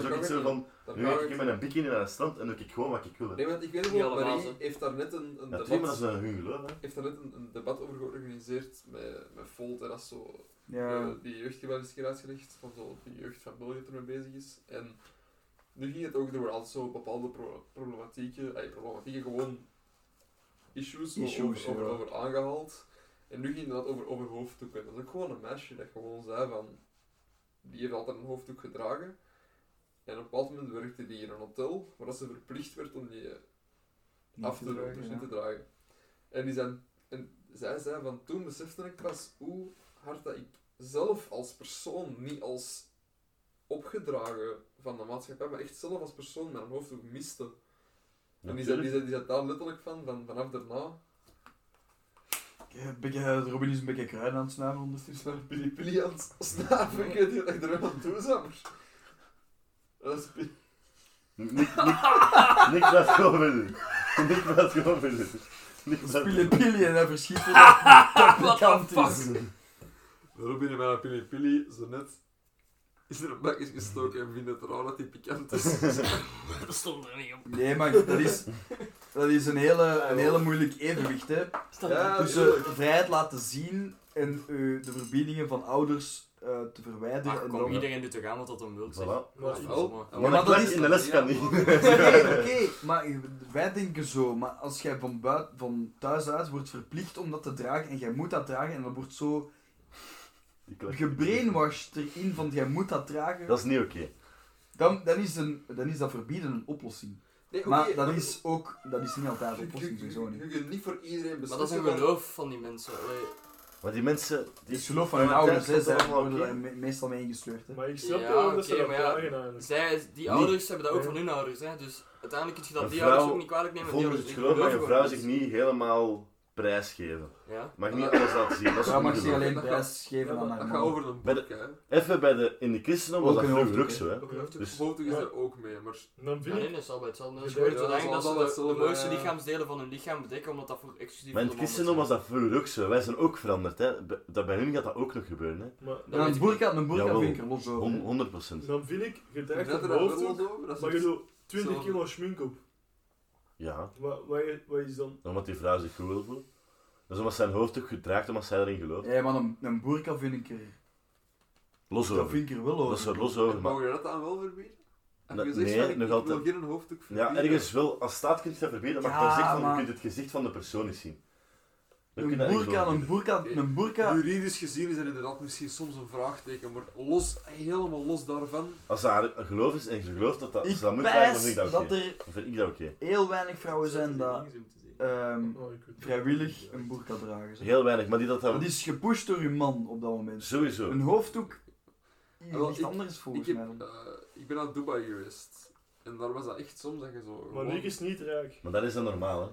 Speaker 2: Dat
Speaker 4: ze ook
Speaker 2: kan
Speaker 4: iets
Speaker 2: ook
Speaker 4: hebben van,
Speaker 2: Dan
Speaker 4: nu
Speaker 2: gaan
Speaker 4: ga
Speaker 2: we
Speaker 4: ik in
Speaker 2: het-
Speaker 4: mijn bikini naar het strand en doe ik gewoon wat ik wil. hè.
Speaker 2: Nee, want ik weet
Speaker 3: Niet
Speaker 2: wel,
Speaker 3: allemaal,
Speaker 2: Marie
Speaker 3: zo.
Speaker 2: heeft daar net een, een
Speaker 4: Ja,
Speaker 2: debat...
Speaker 4: toch, maar dat is eh, hun geloof, hè.
Speaker 2: heeft daar net een, een debat over georganiseerd met, met Volt en dat is zo
Speaker 1: Ja.
Speaker 2: eh, die jeugdgewijs is uitgelegd, van zo de jeugd van België ermee bezig is. En nu ging het ook door al zo bepaalde pro- problematieken, ay, problematieken gewoon issues, o-
Speaker 1: Issues,
Speaker 2: over, over,
Speaker 1: ja.
Speaker 2: over aangehaald. En nu ging dat over, over hoofddoeken. Dat is ook gewoon een meisje dat gewoon zei van, die heeft altijd een hoofddoek gedragen. En op een bepaald moment werkte die in een hotel, waar dat ze verplicht werd om die eh, af te doen, dus niet te dragen. En, die zijn, en zij zei van toen besefte ik pas hoe hard dat ik zelf als persoon, niet als opgedragen van de maatschappij, maar echt zelf als persoon mijn hoofd ook miste. En die zei, die,
Speaker 4: Natuurlijk.
Speaker 2: zei, die zei daar letterlijk van, van vanaf daarna.
Speaker 5: Een beetje- Robin is een beetje kruiden aan het snuiven
Speaker 2: Dus
Speaker 5: ondertussen.
Speaker 2: van Pili Pili aan het snaven, ik weet niet wat ik er wel aan toe zou, maar- Dat is pi-
Speaker 4: Nick- Nick- Nick blijft gewoon willen. Nick blijft gewoon willen. Nick blijft
Speaker 5: Pille pille en hij verschiet er op de kant is.
Speaker 2: Robin en mijn Pili Pili, zo net, is er een bakjes gestoken en vindt het raar dat die pikant is.
Speaker 3: Dat stond er niet op.
Speaker 5: Nee, maar dat is, dat is een, hele, een hele moeilijk evenwicht, hè.
Speaker 3: Stond
Speaker 2: Ja,
Speaker 3: er niet
Speaker 5: Tussen vrijheid laten zien en eh, de verbindingen van ouders eh, te
Speaker 3: op.
Speaker 5: verwijderen.
Speaker 3: Ach,
Speaker 5: en
Speaker 3: Ah, kom,
Speaker 5: dan-
Speaker 3: iedereen doet er aan wat dat hem wil. zeg.
Speaker 4: Voilà.
Speaker 3: Dat is
Speaker 2: Ja,
Speaker 3: wel
Speaker 2: wel.
Speaker 3: mooi.
Speaker 4: Ja,
Speaker 2: maar
Speaker 4: maar
Speaker 5: dat
Speaker 4: dat
Speaker 5: is
Speaker 4: in de les kan niet.
Speaker 5: Nee, oké, maar wij denken zo. Maar als jij van, buiten, van thuis uit wordt verplicht om dat te dragen en jij moet dat dragen en dan wordt zo
Speaker 4: Die klak.
Speaker 5: gebrainwashed erin van jij moet dat dragen,
Speaker 4: Dat is niet oké.
Speaker 5: dan, dan, is een, dan is dat verbieden een oplossing.
Speaker 2: Nee, oké,
Speaker 5: Maar dat is ook, dat is niet altijd een
Speaker 2: Je- je-
Speaker 5: oplossing, sowieso
Speaker 2: Je
Speaker 5: niet.
Speaker 2: je kunt niet voor iedereen
Speaker 3: Maar dat is een
Speaker 2: beslissen. waar-
Speaker 3: geloof van die mensen. allee.
Speaker 4: Maar die mensen...
Speaker 5: Het
Speaker 4: Die
Speaker 5: is geloof van hun
Speaker 4: Ja,
Speaker 5: ouders,
Speaker 4: dat
Speaker 5: hè,
Speaker 4: is
Speaker 5: zij
Speaker 4: allemaal
Speaker 5: worden
Speaker 4: oké.
Speaker 5: daar me- meestal mee ingesleurd. Hè.
Speaker 6: Maar ik snap
Speaker 3: Ja,
Speaker 6: wel dat ze
Speaker 3: oké,
Speaker 6: dat
Speaker 3: maar ja,
Speaker 6: vragen eigenlijk.
Speaker 3: Zij, die
Speaker 4: Nee.
Speaker 3: ouders hebben dat ook
Speaker 6: Ja.
Speaker 3: van hun ouders, hè? dus uiteindelijk kun je dat
Speaker 4: Een
Speaker 3: die
Speaker 4: vrouw
Speaker 3: ouders ook niet kwalijk nemen. die
Speaker 4: Volgens dus het
Speaker 3: ouders
Speaker 4: geloof
Speaker 3: die
Speaker 4: mag je
Speaker 3: geloven
Speaker 4: vrouw
Speaker 3: gewoon
Speaker 4: zich niet helemaal prijsgeven.
Speaker 3: niks. Ja?
Speaker 4: Mag niet alles laten zien. Dat is
Speaker 5: Vrouw mag zich
Speaker 4: ongeloof.
Speaker 5: alleen
Speaker 2: Dat
Speaker 5: prijs geven aan haar
Speaker 2: Dat gaat
Speaker 5: man.
Speaker 2: over een
Speaker 4: Bij de-
Speaker 2: boek, hè.
Speaker 4: Even bij de, in de christendom was
Speaker 5: Ook
Speaker 4: dat
Speaker 5: een
Speaker 4: vroeger ook
Speaker 5: hoofddoek,
Speaker 4: zo, hè.
Speaker 3: Geloof
Speaker 4: Dus
Speaker 2: Foto is
Speaker 6: Ja.
Speaker 2: er ook mee, maar
Speaker 6: En dan
Speaker 3: Ja,
Speaker 6: vind
Speaker 3: nee,
Speaker 6: ik...
Speaker 3: dat is al bij hetzelfde. Dat is
Speaker 6: Ja,
Speaker 3: gewoon
Speaker 2: ja,
Speaker 3: zo
Speaker 2: dat is
Speaker 3: lang dat ze
Speaker 2: al
Speaker 3: de,
Speaker 2: hetzelfde,
Speaker 3: de mooiste
Speaker 2: ja.
Speaker 3: lichaamsdelen van hun lichaam bedekken, omdat dat voor exclusief
Speaker 4: Maar in
Speaker 3: voor
Speaker 4: het
Speaker 3: de mannen
Speaker 4: christendom was
Speaker 3: zijn.
Speaker 4: dat vroeger ook zo. Wij zijn ook veranderd, hè. Bij- Dat bij hun gaat dat ook nog gebeuren, hè.
Speaker 6: Maar
Speaker 3: Dat
Speaker 5: Ja,
Speaker 3: weet
Speaker 5: een
Speaker 3: ik
Speaker 5: boerka, een boerka
Speaker 4: Jawel.
Speaker 5: vind ik er los over.
Speaker 4: Hon-
Speaker 5: hè.
Speaker 4: 100 procent.
Speaker 6: dan vind ik, je
Speaker 2: je
Speaker 6: draagt
Speaker 2: bent
Speaker 6: een
Speaker 2: er daar wel
Speaker 6: hoofddoek,
Speaker 2: over. Dat is
Speaker 6: maar je
Speaker 3: dus
Speaker 2: iets-
Speaker 6: doet 20
Speaker 2: zo-
Speaker 6: kilo schmink op.
Speaker 4: Ja.
Speaker 6: Wat, wat, wat is dan...
Speaker 4: Omdat die vrouw zich goed wil voelen. Dat is omdat zijn hoofd ook gedraagt, omdat zij erin gelooft.
Speaker 5: Ja, maar een, een boerka vind ik er,
Speaker 4: Los
Speaker 5: dat
Speaker 4: over.
Speaker 5: vind ik er wel
Speaker 4: Dat is
Speaker 5: over.
Speaker 4: er los
Speaker 2: En
Speaker 4: over, maar...
Speaker 2: Mogen we dat dan wel verbieden? Heb je
Speaker 4: Nee,
Speaker 2: gezegd van, ik,
Speaker 4: nog
Speaker 2: ik wil
Speaker 4: altijd.
Speaker 2: geen hoofddoek
Speaker 4: Ja,
Speaker 2: verbieden?
Speaker 4: ergens wel. Als staat kun je dat verbieden, maar
Speaker 5: Ja,
Speaker 4: dan zegt van,
Speaker 5: maar-
Speaker 4: je kunt het gezicht van de persoon niet zien. Dan kun
Speaker 5: Een
Speaker 4: je dat echt
Speaker 5: boerka,
Speaker 4: wel
Speaker 5: een
Speaker 4: verbieden.
Speaker 5: boerka, een boerka.
Speaker 2: Juridisch gezien is dat inderdaad misschien soms een vraagteken, maar los, helemaal los daarvan.
Speaker 4: Als dat haar een geloof is en je gelooft dat dat,
Speaker 5: Ik
Speaker 4: als dat moet zijn, dan vind
Speaker 5: pijs
Speaker 4: ik dat oké.
Speaker 5: dat er
Speaker 4: Dan vind ik dat oké.
Speaker 5: heel weinig vrouwen zijn dat ehm,
Speaker 6: Oh, ik weet het.
Speaker 5: vrijwillig een boerka dragen. zeg.
Speaker 4: Heel weinig, maar die dat dan...
Speaker 5: Dat is gepusht door je man op dat moment.
Speaker 4: Sowieso.
Speaker 5: Een hoofddoek
Speaker 2: Ah, wel,
Speaker 5: is iets
Speaker 2: ik-
Speaker 5: anders
Speaker 2: Ik,
Speaker 5: volgens
Speaker 2: heb,
Speaker 5: mij. dan.
Speaker 2: eh, ik ben naar Dubai geweest. En daar was dat echt soms dat je zo...
Speaker 6: Maar
Speaker 2: gewoon-
Speaker 6: Nick is niet rijk.
Speaker 4: Maar dat is dan normaal, hè.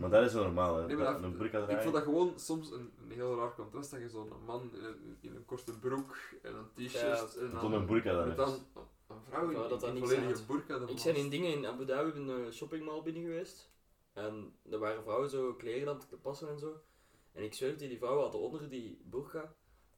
Speaker 4: Maar dat is dan normaal, hè.
Speaker 2: Nee, maar dat-
Speaker 4: een burka
Speaker 2: Ik
Speaker 4: dragen.
Speaker 2: vond dat gewoon soms een, een heel raar contrast dat je zo'n man in een, in een korte broek en een t-shirt
Speaker 3: Ja.
Speaker 2: en
Speaker 4: En toen een burka dan
Speaker 2: en
Speaker 4: is.
Speaker 2: dan een vrouw in
Speaker 3: Ja, dat dat
Speaker 2: een
Speaker 3: niks
Speaker 2: volledige
Speaker 3: uit.
Speaker 2: burka. dan
Speaker 3: Ik ben in
Speaker 2: was.
Speaker 3: dingen in Abu Dhabi in een shoppingmall binnen geweest. En er waren vrouwen zo kleren aan het passen en zo. En ik zweer het je, die vrouwen hadden onder die burka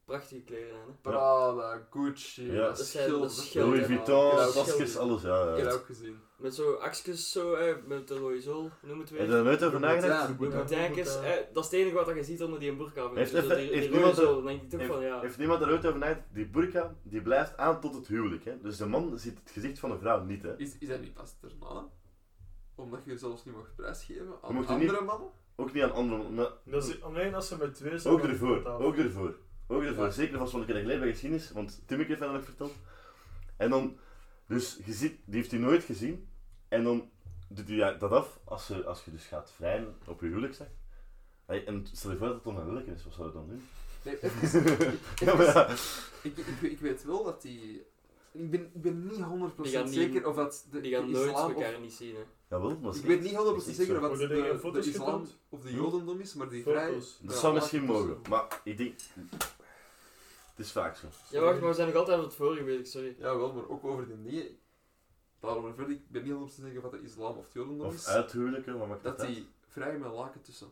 Speaker 3: prachtige kleren aan. Hè.
Speaker 2: Prada, Gucci,
Speaker 4: Ja.
Speaker 2: dat
Speaker 3: Dat zijn- dat
Speaker 2: schild.
Speaker 3: is geld,
Speaker 4: Louis
Speaker 3: Ja,
Speaker 4: Vuitton,
Speaker 3: ja,
Speaker 4: maskers,
Speaker 3: schilder.
Speaker 4: alles, ja.
Speaker 2: Ik heb
Speaker 4: ja.
Speaker 2: dat ook gezien.
Speaker 3: Met zo akjes zo, hè, met de rode zool, noem het
Speaker 4: Heb je
Speaker 3: weer.
Speaker 4: daar nooit over
Speaker 2: Ja.
Speaker 4: nagedacht?
Speaker 2: Ja.
Speaker 3: De boetijkers,
Speaker 6: Ja.
Speaker 3: hè, dat is eh, het enige wat je ziet onder die burka. Dus
Speaker 4: Heeft-
Speaker 3: dat
Speaker 4: heeft-
Speaker 3: die- die
Speaker 4: heeft
Speaker 3: rode
Speaker 4: niemand-
Speaker 3: zool, dan denk ik toch
Speaker 4: heeft-
Speaker 3: van ja.
Speaker 4: Heeft niemand er ooit over nagedacht? Die burka, die blijft aan tot het huwelijk, hè. Dus de man ziet het gezicht van de vrouw niet, hè.
Speaker 2: Is, is dat niet pas daarna? Omdat je zelfs niet mag prijsgeven aan
Speaker 4: mocht je
Speaker 2: andere mannen?
Speaker 4: Ook niet aan andere... maar
Speaker 6: Dat is alleen als ze met twee zijn.
Speaker 4: Ook
Speaker 6: dan-
Speaker 4: ervoor,
Speaker 6: dan-
Speaker 4: ook ervoor. Ook ervoor.
Speaker 2: Ja.
Speaker 4: Zeker vast, want ik heb dat geleerd bij geschiedenis, want Timmeke heeft dat nog verteld. En dan, dus je ziet, die heeft hij nooit gezien. En dan doet hij dat af als, ze, als je dus gaat vrijen op je huwelijksdag. Hey, en stel je voor dat het dan een huwelijk is, wat zou je dan doen?
Speaker 2: Nee, even,
Speaker 4: ja, maar ja.
Speaker 2: ik, ik, ik weet wel dat die... Ik ben, ik ben niet 100%
Speaker 3: Die gaan niet-
Speaker 2: zeker of dat de,
Speaker 3: Die gaan
Speaker 2: de
Speaker 3: nooit
Speaker 2: islam of-
Speaker 3: elkaar niet zien. Hè.
Speaker 4: Jawel, maar
Speaker 2: Ik
Speaker 4: ze-
Speaker 2: weet niet 100%
Speaker 4: Is niet
Speaker 2: zeker
Speaker 4: zo.
Speaker 2: of dat
Speaker 6: Worden er geen
Speaker 2: de, de
Speaker 6: foto's
Speaker 2: islam
Speaker 6: getoond?
Speaker 2: of de jodendom is, maar die vrij...
Speaker 6: Foto's.
Speaker 4: dat
Speaker 2: ja,
Speaker 4: zou misschien
Speaker 2: laat-
Speaker 4: mogen, maar ik denk... Het is vaak zo.
Speaker 3: Ja, wacht, maar we zijn nog altijd aan het vorige bezig, sorry.
Speaker 2: Jawel, maar ook over die dingen. Daarover verder, ik ben niet 100% zeker of dat de islam of het jodendom
Speaker 4: Of
Speaker 2: is.
Speaker 4: uithuwelijken, wat maakt dat
Speaker 2: dat
Speaker 4: uit?
Speaker 2: die vrij met laken tussen.